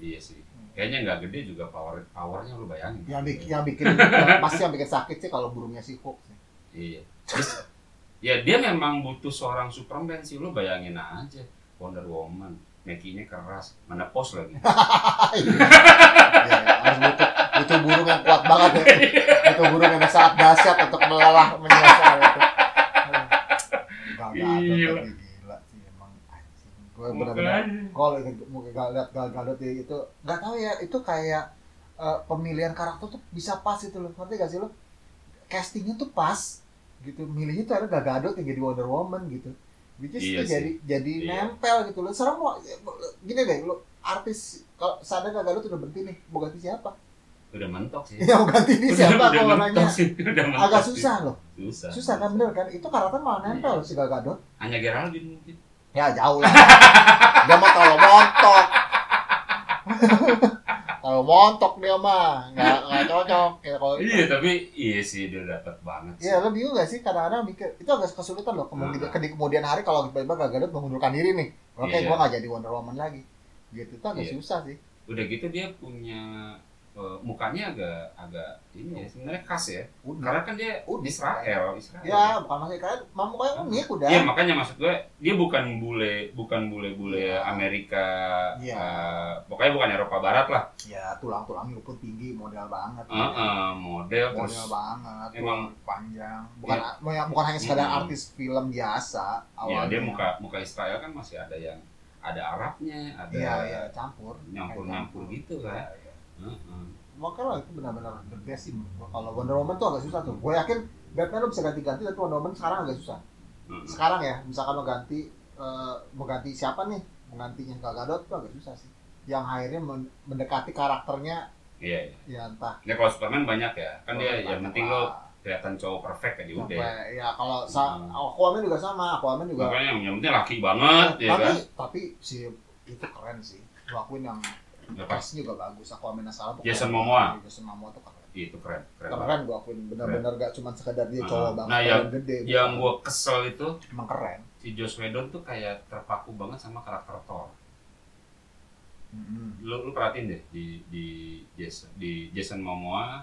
Iya sih. Kayaknya nggak gede juga power powernya lu bayangin. Yang bikin yang bikin yang pasti yang bikin sakit sih kalau burungnya si Hulk sih. Iya. Terus, ya dia memang butuh seorang Superman sih lu bayangin aja Wonder Woman mekinya keras mana pos [LAUGHS] lagi Ah, [LAUGHS] iya. ya, ya, harus butuh, butuh burung yang kuat banget ya. Butuh burung yang sangat dahsyat untuk melelah menyelesaikan itu. Gak ada Gila. tapi gila sih emang anjing. Gue benar-benar kalau ingat- mau gak lihat Gal Gadot ya itu nggak tahu ya itu kayak eh, pemilihan karakter tuh bisa pas gitu loh ngerti gak sih lo castingnya tuh pas gitu milihnya tuh ada Gal Gadot yang jadi Wonder Woman gitu which is Iya tuh sih. jadi jadi Iya. nempel gitu loh sekarang mau gini deh lo artis kalau sadar Gal Gadot udah berhenti nih mau ganti siapa udah mentok sih [LAUGHS] ya mau ganti ini Iya. siapa udah kalau mentok nanya sih udah mentok agak sih. susah loh susah susah kan bener kan itu karakter malah nempel Iya. si Gal Gadot hanya Geraldine mungkin Ya jauh lah. dia mah kalau montok. [LAUGHS] kalau montok dia mah nggak nggak cocok. Ya, kalau iya tapi iya sih dia dapat banget sih. Iya, lo bingung gak sih kadang-kadang mikir itu agak kesulitan loh kemudian Hmm. di kemudian hari kalau tiba-tiba gak gadot mengundurkan diri nih. Oke, Iya. gua gak jadi Wonder Woman lagi. Gitu itu agak Iya. susah sih. udah gitu dia punya eh, mukanya agak agak ini ya sebenarnya khas ya Udah. karena kan dia Udah. Israel Israel Ya, bukan maksudnya kalian mampu kayak unik udah. Iya makanya maksud gue dia bukan bule bukan bule-bule Amerika Iya. eh, pokoknya bukan Eropa Barat lah Ya, tulang-tulangnya pun tinggi, model banget. Eh, eh, model terus iya, model banget, emang- tulang panjang. Bukan bukan hanya sekadar Hmm. artis film biasa ya awalnya. dia muka muka Israel kan masih ada yang ada Arabnya ada Iya, iya, campur. nyampur-nyampur gitu Iya, kan iya. Eh, eh. Makanya itu benar-benar the best sih menurut gua. Kalau Wonder Woman tuh agak susah tuh. Gue yakin Batman lo bisa ganti-ganti, tapi Wonder Woman sekarang agak susah. Mm-mm. Sekarang ya, misalkan lo ganti, eh, mau ganti siapa nih? Menggantinya Gal Gadot tuh agak susah sih. Yang akhirnya men- mendekati karakternya, iya iya ya entah. ya kalau Superman banyak ya kan dia Oh, Banyak yang penting lah. lo kelihatan cowok perfect aja udah Sampai, ya kalau sa- Hmm. Aquaman juga sama, Aquaman juga makanya yang- yang penting laki banget ya tapi kan tapi si itu keren sih gua akuin yang Lepas. castnya juga bagus Aquaman asal Jason Momoa. Jason Momoa tuh keren itu keren keren banget. keren gua akuin benar-benar gak cuma sekadar dia Ah. cowok banget Nah, badan yang- gede gitu. yang gue kesel itu emang keren si Joss Whedon tuh kayak terpaku banget sama karakter Thor Mm-mm. lu, lu perhatiin deh di di Jason di Jason Momoa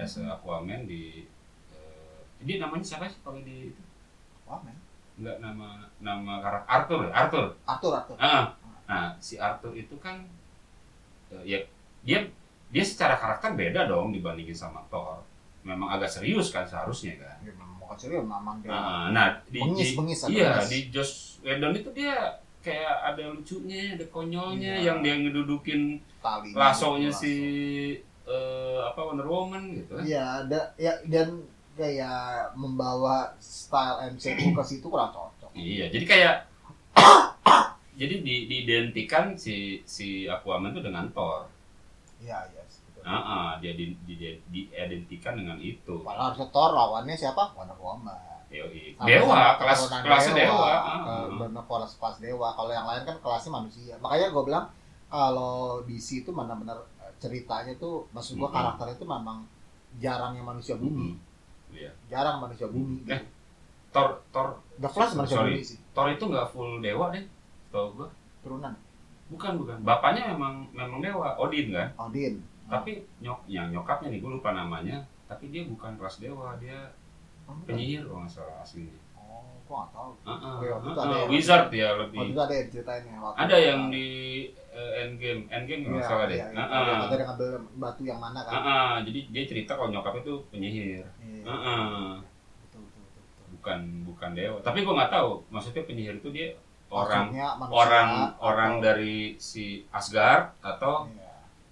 as a Aquaman di eh, ini namanya siapa sih kalau di itu Aquaman nggak nama nama karakter Arthur ya? Arthur Arthur Arthur Ah, nah si Arthur itu kan eh, ya dia dia secara karakter beda dong dibandingin sama Thor memang agak serius kan seharusnya kan dia memang bukan serius memang dia nah, nah di, bengis di- bengis Ya. agak iya bengis. di Joss Whedon itu dia kayak ada lucunya ada konyolnya Iya. yang dia ngedudukin Talinya, lasonya lasso. si eh, apa Wonder Woman gitu iya ada ya dan kayak membawa style MCU ke situ kurang cocok iya jadi kayak [COUGHS] jadi di, diidentikan si si Aquaman itu dengan Thor iya iya sih, betul. ah ah, dia di, di, di- diidentikan dengan itu Padahal harusnya Thor lawannya siapa Wonder Woman Yoi. Sama-sama dewa kelas keturunan kelas dewa Eh, Ah, bener kelas kelas dewa kalau yang lain kan kelasnya manusia makanya gue bilang kalau DC itu benar-benar eh, ceritanya tuh maksud gue Mm-mm. karakternya tuh memang jarang yang manusia bumi Mm-mm. Iya. jarang manusia bumi Eh. gitu. Thor Thor The Flash manusia Sorry. bumi sih Thor itu nggak full dewa deh tau gua turunan bukan bukan bapaknya memang memang dewa Odin kan Odin tapi nyok yang nyokapnya nih gue lupa namanya tapi dia bukan kelas dewa dia oh, bukan. penyihir kalau nggak salah aslinya oh gue nggak tahu Ah, ah, Oke, Iya, waktu itu ah, ada ah, yang- wizard ya waktu lebih itu ada yang ceritain ya waktu ada yang di eh, endgame endgame kalau nggak salah deh Iya, Ah, iya. ah. Ada yang ngambil batu yang mana kan? Ah, ah. jadi dia cerita kalau nyokapnya itu penyihir Iya. Ah, ah. Betul, betul, betul, betul. bukan bukan dewa tapi gue nggak tahu maksudnya penyihir itu dia orang Maksudnya manusia orang orang atau- dari si Asgard atau Iya.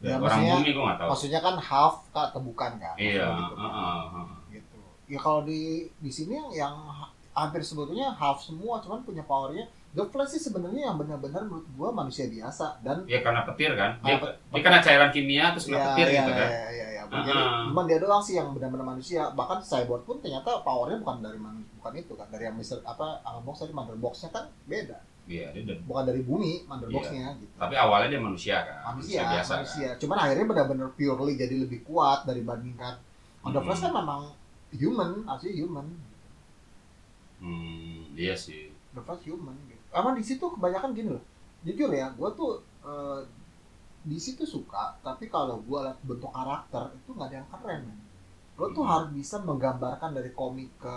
Ya, orang maksudnya- bumi gue nggak tahu maksudnya kan half kak atau bukan kan iya Maksudnya gitu, heeh, heeh. gitu ya kalau di di sini yang, yang ha- hampir sebetulnya half semua cuman punya powernya The Flash sih sebenarnya yang benar-benar menurut gua manusia biasa dan ya karena petir kan dia, Ah, dia kena cairan kimia terus kena petir ya, gitu ya, kan ya, ya, ya. Jadi, Ah. cuman dia doang sih yang benar-benar manusia bahkan cyborg pun ternyata powernya bukan dari man- bukan itu kan dari yang Mister apa Alan Box tadi Mother Box-nya kan beda iya dia udah- bukan dari bumi Mother Iya. Box-nya gitu tapi awalnya dia manusia kan manusia biasa manusia cuman akhirnya benar-benar purely jadi lebih kuat dibandingkan on the Mm. Flash kan memang Ah. human asli human Kan? hmm iya sih the Flash human gitu emang di situ kebanyakan gini loh jujur ya gue tuh eh, di situ suka tapi kalau gue lihat bentuk karakter itu nggak ada yang keren men. lo tuh Mm. harus bisa menggambarkan dari komik ke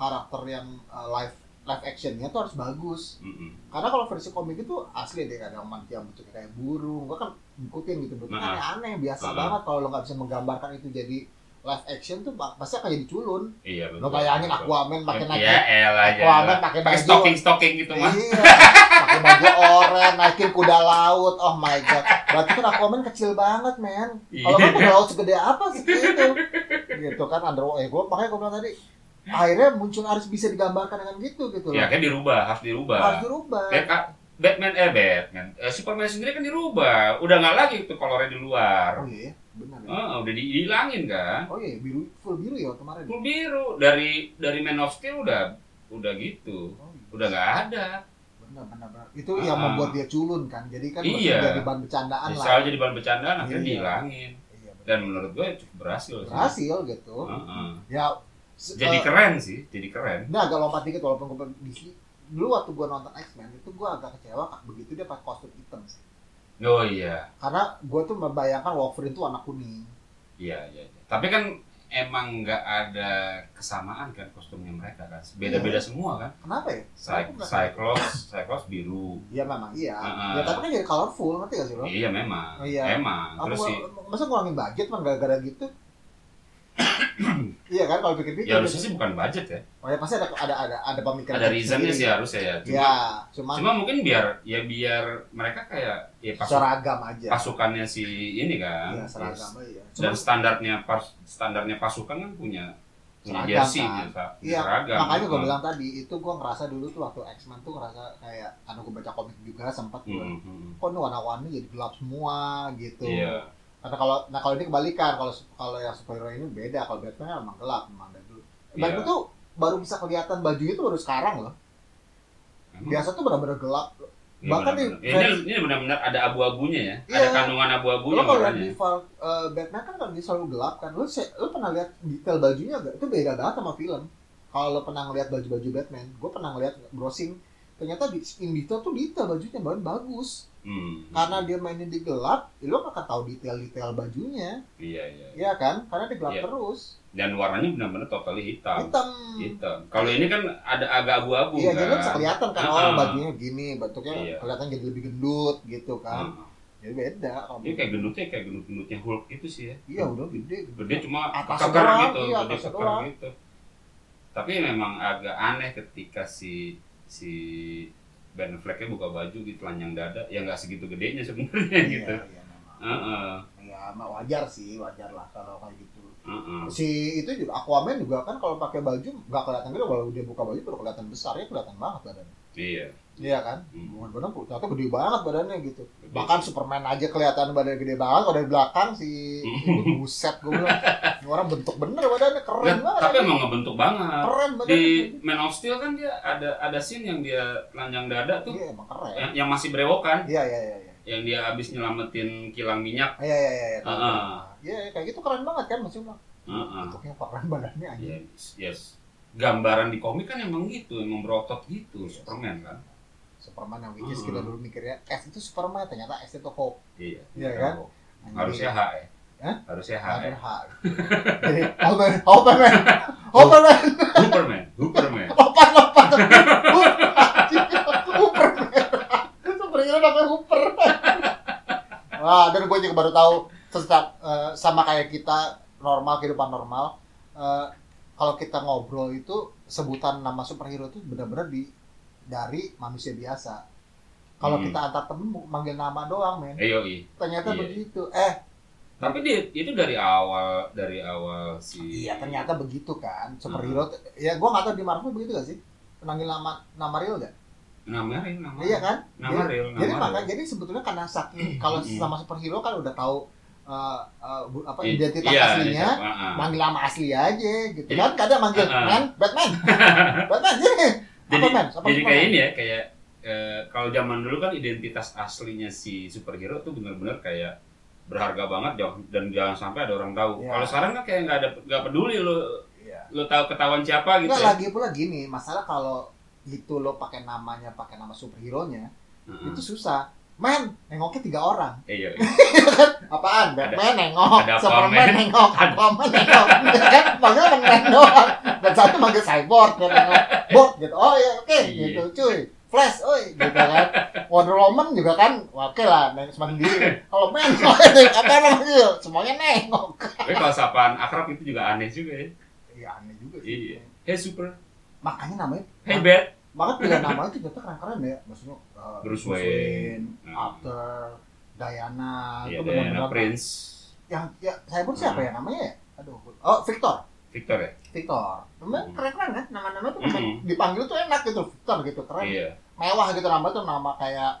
karakter yang eh, live live actionnya tuh harus bagus Mm-mm. karena kalau versi komik itu asli deh kadang manusia bentuknya kayak burung gua kan ngikutin gitu bentuknya aneh-aneh Nah. biasa banget kalau lo nggak bisa menggambarkan itu jadi live action tuh pa- pasti akan jadi culun iya betul lo bayangin betul. Aquaman pakai naik ya elah ya Aquaman pakai pakai baju stocking stocking gitu mah iya pakai baju oranye naikin kuda laut oh my god berarti kan Aquaman kecil banget men kalau Iya. kan kuda laut segede apa sih itu gitu kan underwater ya gua makanya gua bilang tadi akhirnya muncul harus bisa digambarkan dengan gitu gitu ya loh kan dirubah harus dirubah harus dirubah Bat- ah, Batman eh Batman Eh, Superman sendiri kan dirubah udah nggak lagi itu kolornya di luar oh iya ya, benar ya. Heeh, udah di- dihilangin kan Oh iya, biru full biru ya kemarin. full biru dari dari Man of Steel udah udah gitu Oh, iya. udah nggak ada Benar benar benar. Itu yang Ah. membuat dia culun kan. Jadi kan Iya. jadi bahan bercandaan lah. misalnya jadi bahan bercandaan akhirnya Iya. dihilangin Iya, benar. dan menurut gue cukup berhasil sih. Berhasil gitu. Heeh. Ya se- jadi eh, keren sih jadi keren ini agak lompat dikit walaupun gue di dulu waktu gue nonton X-Men itu gue agak kecewa kak begitu dia pakai kostum hitam sih. oh iya Karena gue tuh membayangkan Wolverine tuh warna kuning. iya iya iya. tapi kan emang nggak ada kesamaan kan kostumnya mereka kan beda-beda semua kan Kenapa ya? Cy- Kenapa Iya. nggak- Cyclops Cyclops biru Iya memang iya. Ah. Ya tapi kan jadi colorful ngerti gak sih lo? iya memang Iya. emang Aku terus sih masa ngurangin budget mah gara-gara gitu? iya kan kalau pikir-pikir ya harusnya sih bukan budget ya Oh ya pasti ada ada ada ada pemikiran ada reasonnya sih sendiri. harusnya ya cuma Ya, cuman cuma mungkin biar ya biar mereka kayak ya pasukan seragam aja. pasukannya si ini kan Iya, seragam aja. dan Cuman standarnya pas- standarnya pasukan kan punya punya Seragam, jersey kan? punya sa- Iya, seragam makanya gue Heeh. bilang tadi itu gue ngerasa dulu tuh waktu X-Men tuh ngerasa kayak karena gue baca komik juga sempat gue Mm, mm, mm. kok ini warna-warni jadi gelap semua gitu. iya Karena kalau nah kalau ini kebalikan kalau kalau yang superhero ini beda kalau Batman emang gelap memang dari dulu. Batman Iya. tuh baru bisa kelihatan bajunya tuh baru sekarang loh. Emang? Biasa tuh benar-benar gelap. Iya, bahkan benar-benar. di- Ya, ini, ini benar-benar ada abu-abunya ya Iya. ada kandungan Lo abu-abunya kalau lihat warnanya. di Val- eh, Batman kan kalau dia selalu gelap kan, lo, se- lo pernah lihat detail bajunya gak? Itu beda banget sama film. Kalau lo pernah ngeliat baju-baju Batman, gue pernah ngeliat browsing, ternyata di in detail tuh detail bajunya banget bagus. Hmm. Karena dia mainnya di gelap, ya lo gak akan tahu detail-detail bajunya, iya iya ya kan? Karena di gelap Iya. terus, dan warnanya benar-benar totally hitam hitam. hitam kalau ini kan ada agak abu-abu Iya, kan jadi lo bisa kelihatan kan, oh Ah. bajunya gini, bentuknya Iya. kelihatan jadi lebih gendut gitu kan. Heeh. Jadi beda. kalau Ini Iya, kayak gendutnya kayak gendut-gendutnya Hulk itu sih ya Iya, udah [LAUGHS] gede. gede cuma Atasnya keker doang, gitu iya, gede atasnya keker doang. gitu tapi memang agak aneh ketika si si Ben Affleck-nya buka baju gitu telanjang dada ya nggak segitu gedenya [LAUGHS] sebenarnya Iya, gitu iya, memang. Heeh, Ya, mak- wajar sih, wajar lah kalau kayak gitu. heeh. Si itu juga Aquaman juga kan kalau pakai baju nggak kelihatan gede, walau dia buka baju baru kelihatan besar ya kelihatan banget badannya. iya Iya kan? Hmm. Iya Bukan badan ternyata gede banget badannya gitu. Bahkan Superman aja kelihatan badannya gede banget kalau dari belakang si Hmm. ini buset gue bilang. Ini orang bentuk bener badannya keren Nggak, banget. Nah, ya. tapi emang ngebentuk banget Keren badannya. di Man of Steel kan dia ada ada scene yang dia telanjang dada tuh Iya emang keren. yang, yang masih berewokan Iya iya iya iya. yang dia habis nyelamatin kilang minyak Iya iya iya. iya. Ah, ah. Iya iya, kayak gitu keren banget kan maksudnya. Heeh. Bentuknya keren badannya aja. yes, yes. gambaran di komik kan emang gitu emang berotot gitu Superman kan Superman yang which is Hmm. kita dulu mikirnya F itu Superman ternyata S itu Hope. Iya. Iya kan? Harusnya H ya. Hah? Harusnya H ya. Harus H. Jadi Hope Hope man, Hope man, Superman, [LAUGHS] Superman. lompat lompat. Hooper, superhero namanya Hooper. Wah, dan gue juga baru tahu sesat eh, sama kayak kita normal kehidupan normal. eh, kalau kita ngobrol itu sebutan nama superhero itu benar-benar di dari manusia biasa. Kalau Hmm. kita antar temen manggil nama doang, men. Eh, yoi. Ternyata Iya. begitu. Eh, Tapi dia itu dari awal dari awal si iya ternyata begitu Hmm. kan. Superhero t- ya gua nggak tahu di Marvel begitu gak sih? Panggil nama nama real gak? nama real nama. Iya kan? Nama Jadi- real, nama Jadi real. makanya jadi sebetulnya karena saking kalau Mm-mm. sama superhero kan udah tahu eh, eh, bu- apa I- identitas iya, aslinya, iya, ah, ah. manggil nama asli aja gitu Jadi- kan kadang manggil Ah, ah. man [LAUGHS] Batman Batman sini Jadi- Aquaman apa Jadi kayak ini ya, kayak eh, kalau zaman dulu kan identitas aslinya si superhero tuh bener-bener kayak berharga banget jauh dan jangan sampai ada orang tahu. Iya. Kalau sekarang kan kayak nggak ada nggak peduli lo lo tahu ketahuan siapa gitu. Nggak, Ya. Iya. lagi pula gini masalah kalau itu lo pakai namanya pakai nama superhero nya Heeh. itu susah Man, nengoknya tiga orang. Iya. iya. Apaan? Batman nengok, ada Superman Aquaman. nengok, Aquaman nengok. kan manggil Man doang. Dan satu manggil Cyborg, dia nengok. Bot gitu. Oh iya, oke Iya. gitu, cuy. Flash, oi, gitu kan. Wonder Woman juga kan, wah, oke lah, neng sendiri. Kalau [LAUGHS] oh, iya, Man, apa namanya? Semuanya nengok. Tapi kalau sapaan akrab itu juga aneh juga ya. Iya, aneh juga Iya. Hey super, Makanya namanya hey bad. banget pilihan namanya itu ternyata keren-keren ya maksudnya uh, Bruce Wayne. Hmm. After Diana Iya, itu Diana benar-benar Prince, Hmm. yang ya saya pun siapa ya namanya ya aduh oh Victor Victor ya. Victor namanya Hmm. keren-keren kan nama-nama tuh keren. Hmm. dipanggil tuh enak gitu Victor gitu keren Iya. mewah gitu nama tuh nama kayak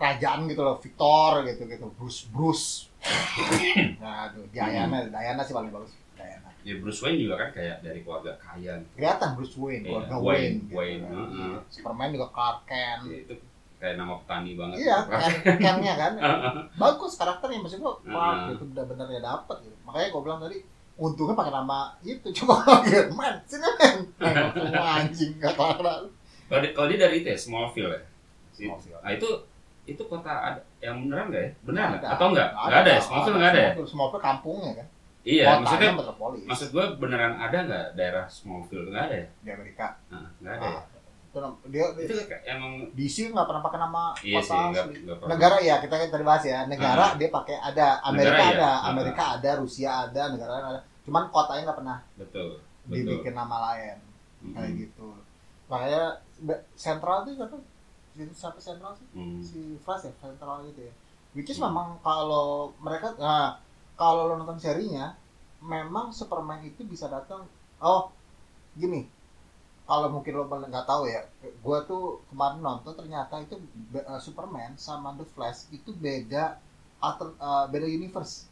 kerajaan gitu loh Victor gitu gitu Bruce [COUGHS] Bruce nah tuh Diana Hmm. Diana sih paling bagus Diana Ya Bruce Wayne juga kan kayak dari keluarga kaya. gitu. kelihatan Bruce Wayne Iya, keluarga Wayne, Wayne gitu Wayne, kan. heeh. Superman juga Clark Kent Ya, itu kayak nama petani banget. Iya, Ken- Ken-nya [LAUGHS] kan. Bagus karakternya maksud gua, wah Heeh. itu benar-benar ya dapet gitu. Makanya gua bilang tadi untungnya pakai nama itu [LAUGHS] coba panggil man sini [LAUGHS] man Nengok semua anjing gak Iya. kelar Kalau di- kalau dia dari itu ya Smallville ya. Nah itu itu kota ada yang beneran nggak ya? Benar nggak? Atau enggak? Nggak ada ya? Smallville nggak ada ya? Smallville kampungnya kan Iya, kotanya maksudnya metropolis maksud gue beneran ada nggak daerah Smallville nggak ada ya? di Amerika Nah, nggak ada ya. Ah, itu nam- dia, Itu dia kayak emang DC nggak pernah pakai nama iya sih kota nggak asli. nggak pernah. Ah. negara ya kita kan tadi bahas ya negara dia pakai ada Amerika Negara ya? ada Ah. Amerika ada Rusia ada negara lain ada cuman kotanya nggak pernah Betul. Hmm. Betul. dibikin nama lain kayak Mm-mm. gitu makanya be- sentral tuh siapa Itu siapa sentral sih Mm. si Flash ya sentral gitu ya which is Hmm. memang kalau mereka nah kalau lo nonton serinya memang Superman itu bisa datang oh gini kalau mungkin lo pada nggak tahu ya gua tuh kemarin nonton ternyata itu be- eh, Superman sama The Flash itu beda alter, eh, beda universe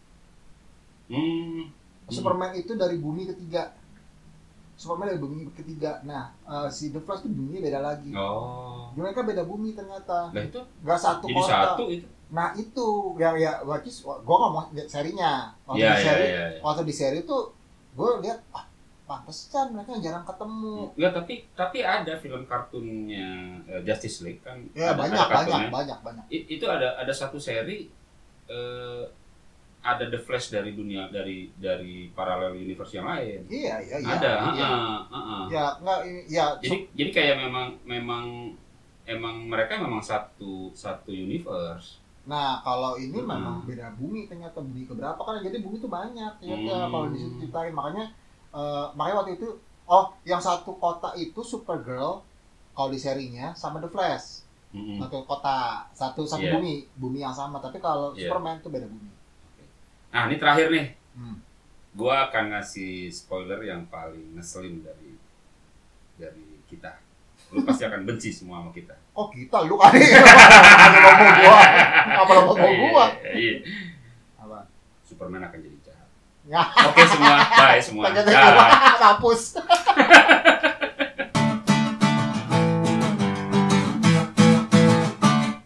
Mm. Superman itu dari bumi ketiga Superman dari bumi ketiga nah eh, si The Flash itu bumi beda lagi Oh. mereka beda bumi ternyata Nah itu nggak satu jadi kota satu itu. nah itu yang ya waktu gue ngomong liat serinya waktu Iya di iya seri iya. iya. waktu di seri tuh gue lihat ah pantesan mereka jarang ketemu Enggak, tapi tapi ada film kartunnya eh, Justice League kan. ya ada- ada banyak banyak kartunnya. banyak banyak I- itu ada ada satu seri eh, ada The Flash dari dunia dari dari paralel universe yang lain. iya iya iya ada, iya. heeh, heeh. ya nggak ini ya Jadi jadi kayak memang memang emang mereka memang satu satu universe. nah kalau ini Hmm. memang beda bumi ternyata bumi keberapa kan jadi bumi tuh banyak ternyata Hmm. kalau di situ ceritain makanya eh, makanya waktu itu oh yang satu kota itu Supergirl kalau di serinya sama The Flash Mm-mm. satu kota satu satu Hmm. Iya. bumi bumi yang sama tapi kalau Iya. Superman itu beda bumi Nah, ini terakhir nih. hmm. Gua akan ngasih spoiler yang paling ngeselin dari dari kita. Lu pasti akan benci semua sama kita. oh kita lu kali apa lo mau gua apa lo mau Oh, gua Iya, iya. apa Superman akan jadi jahat. Ya. Oke semua, bye semua. [LAUGHS] Ternyata Dadah. gua hapus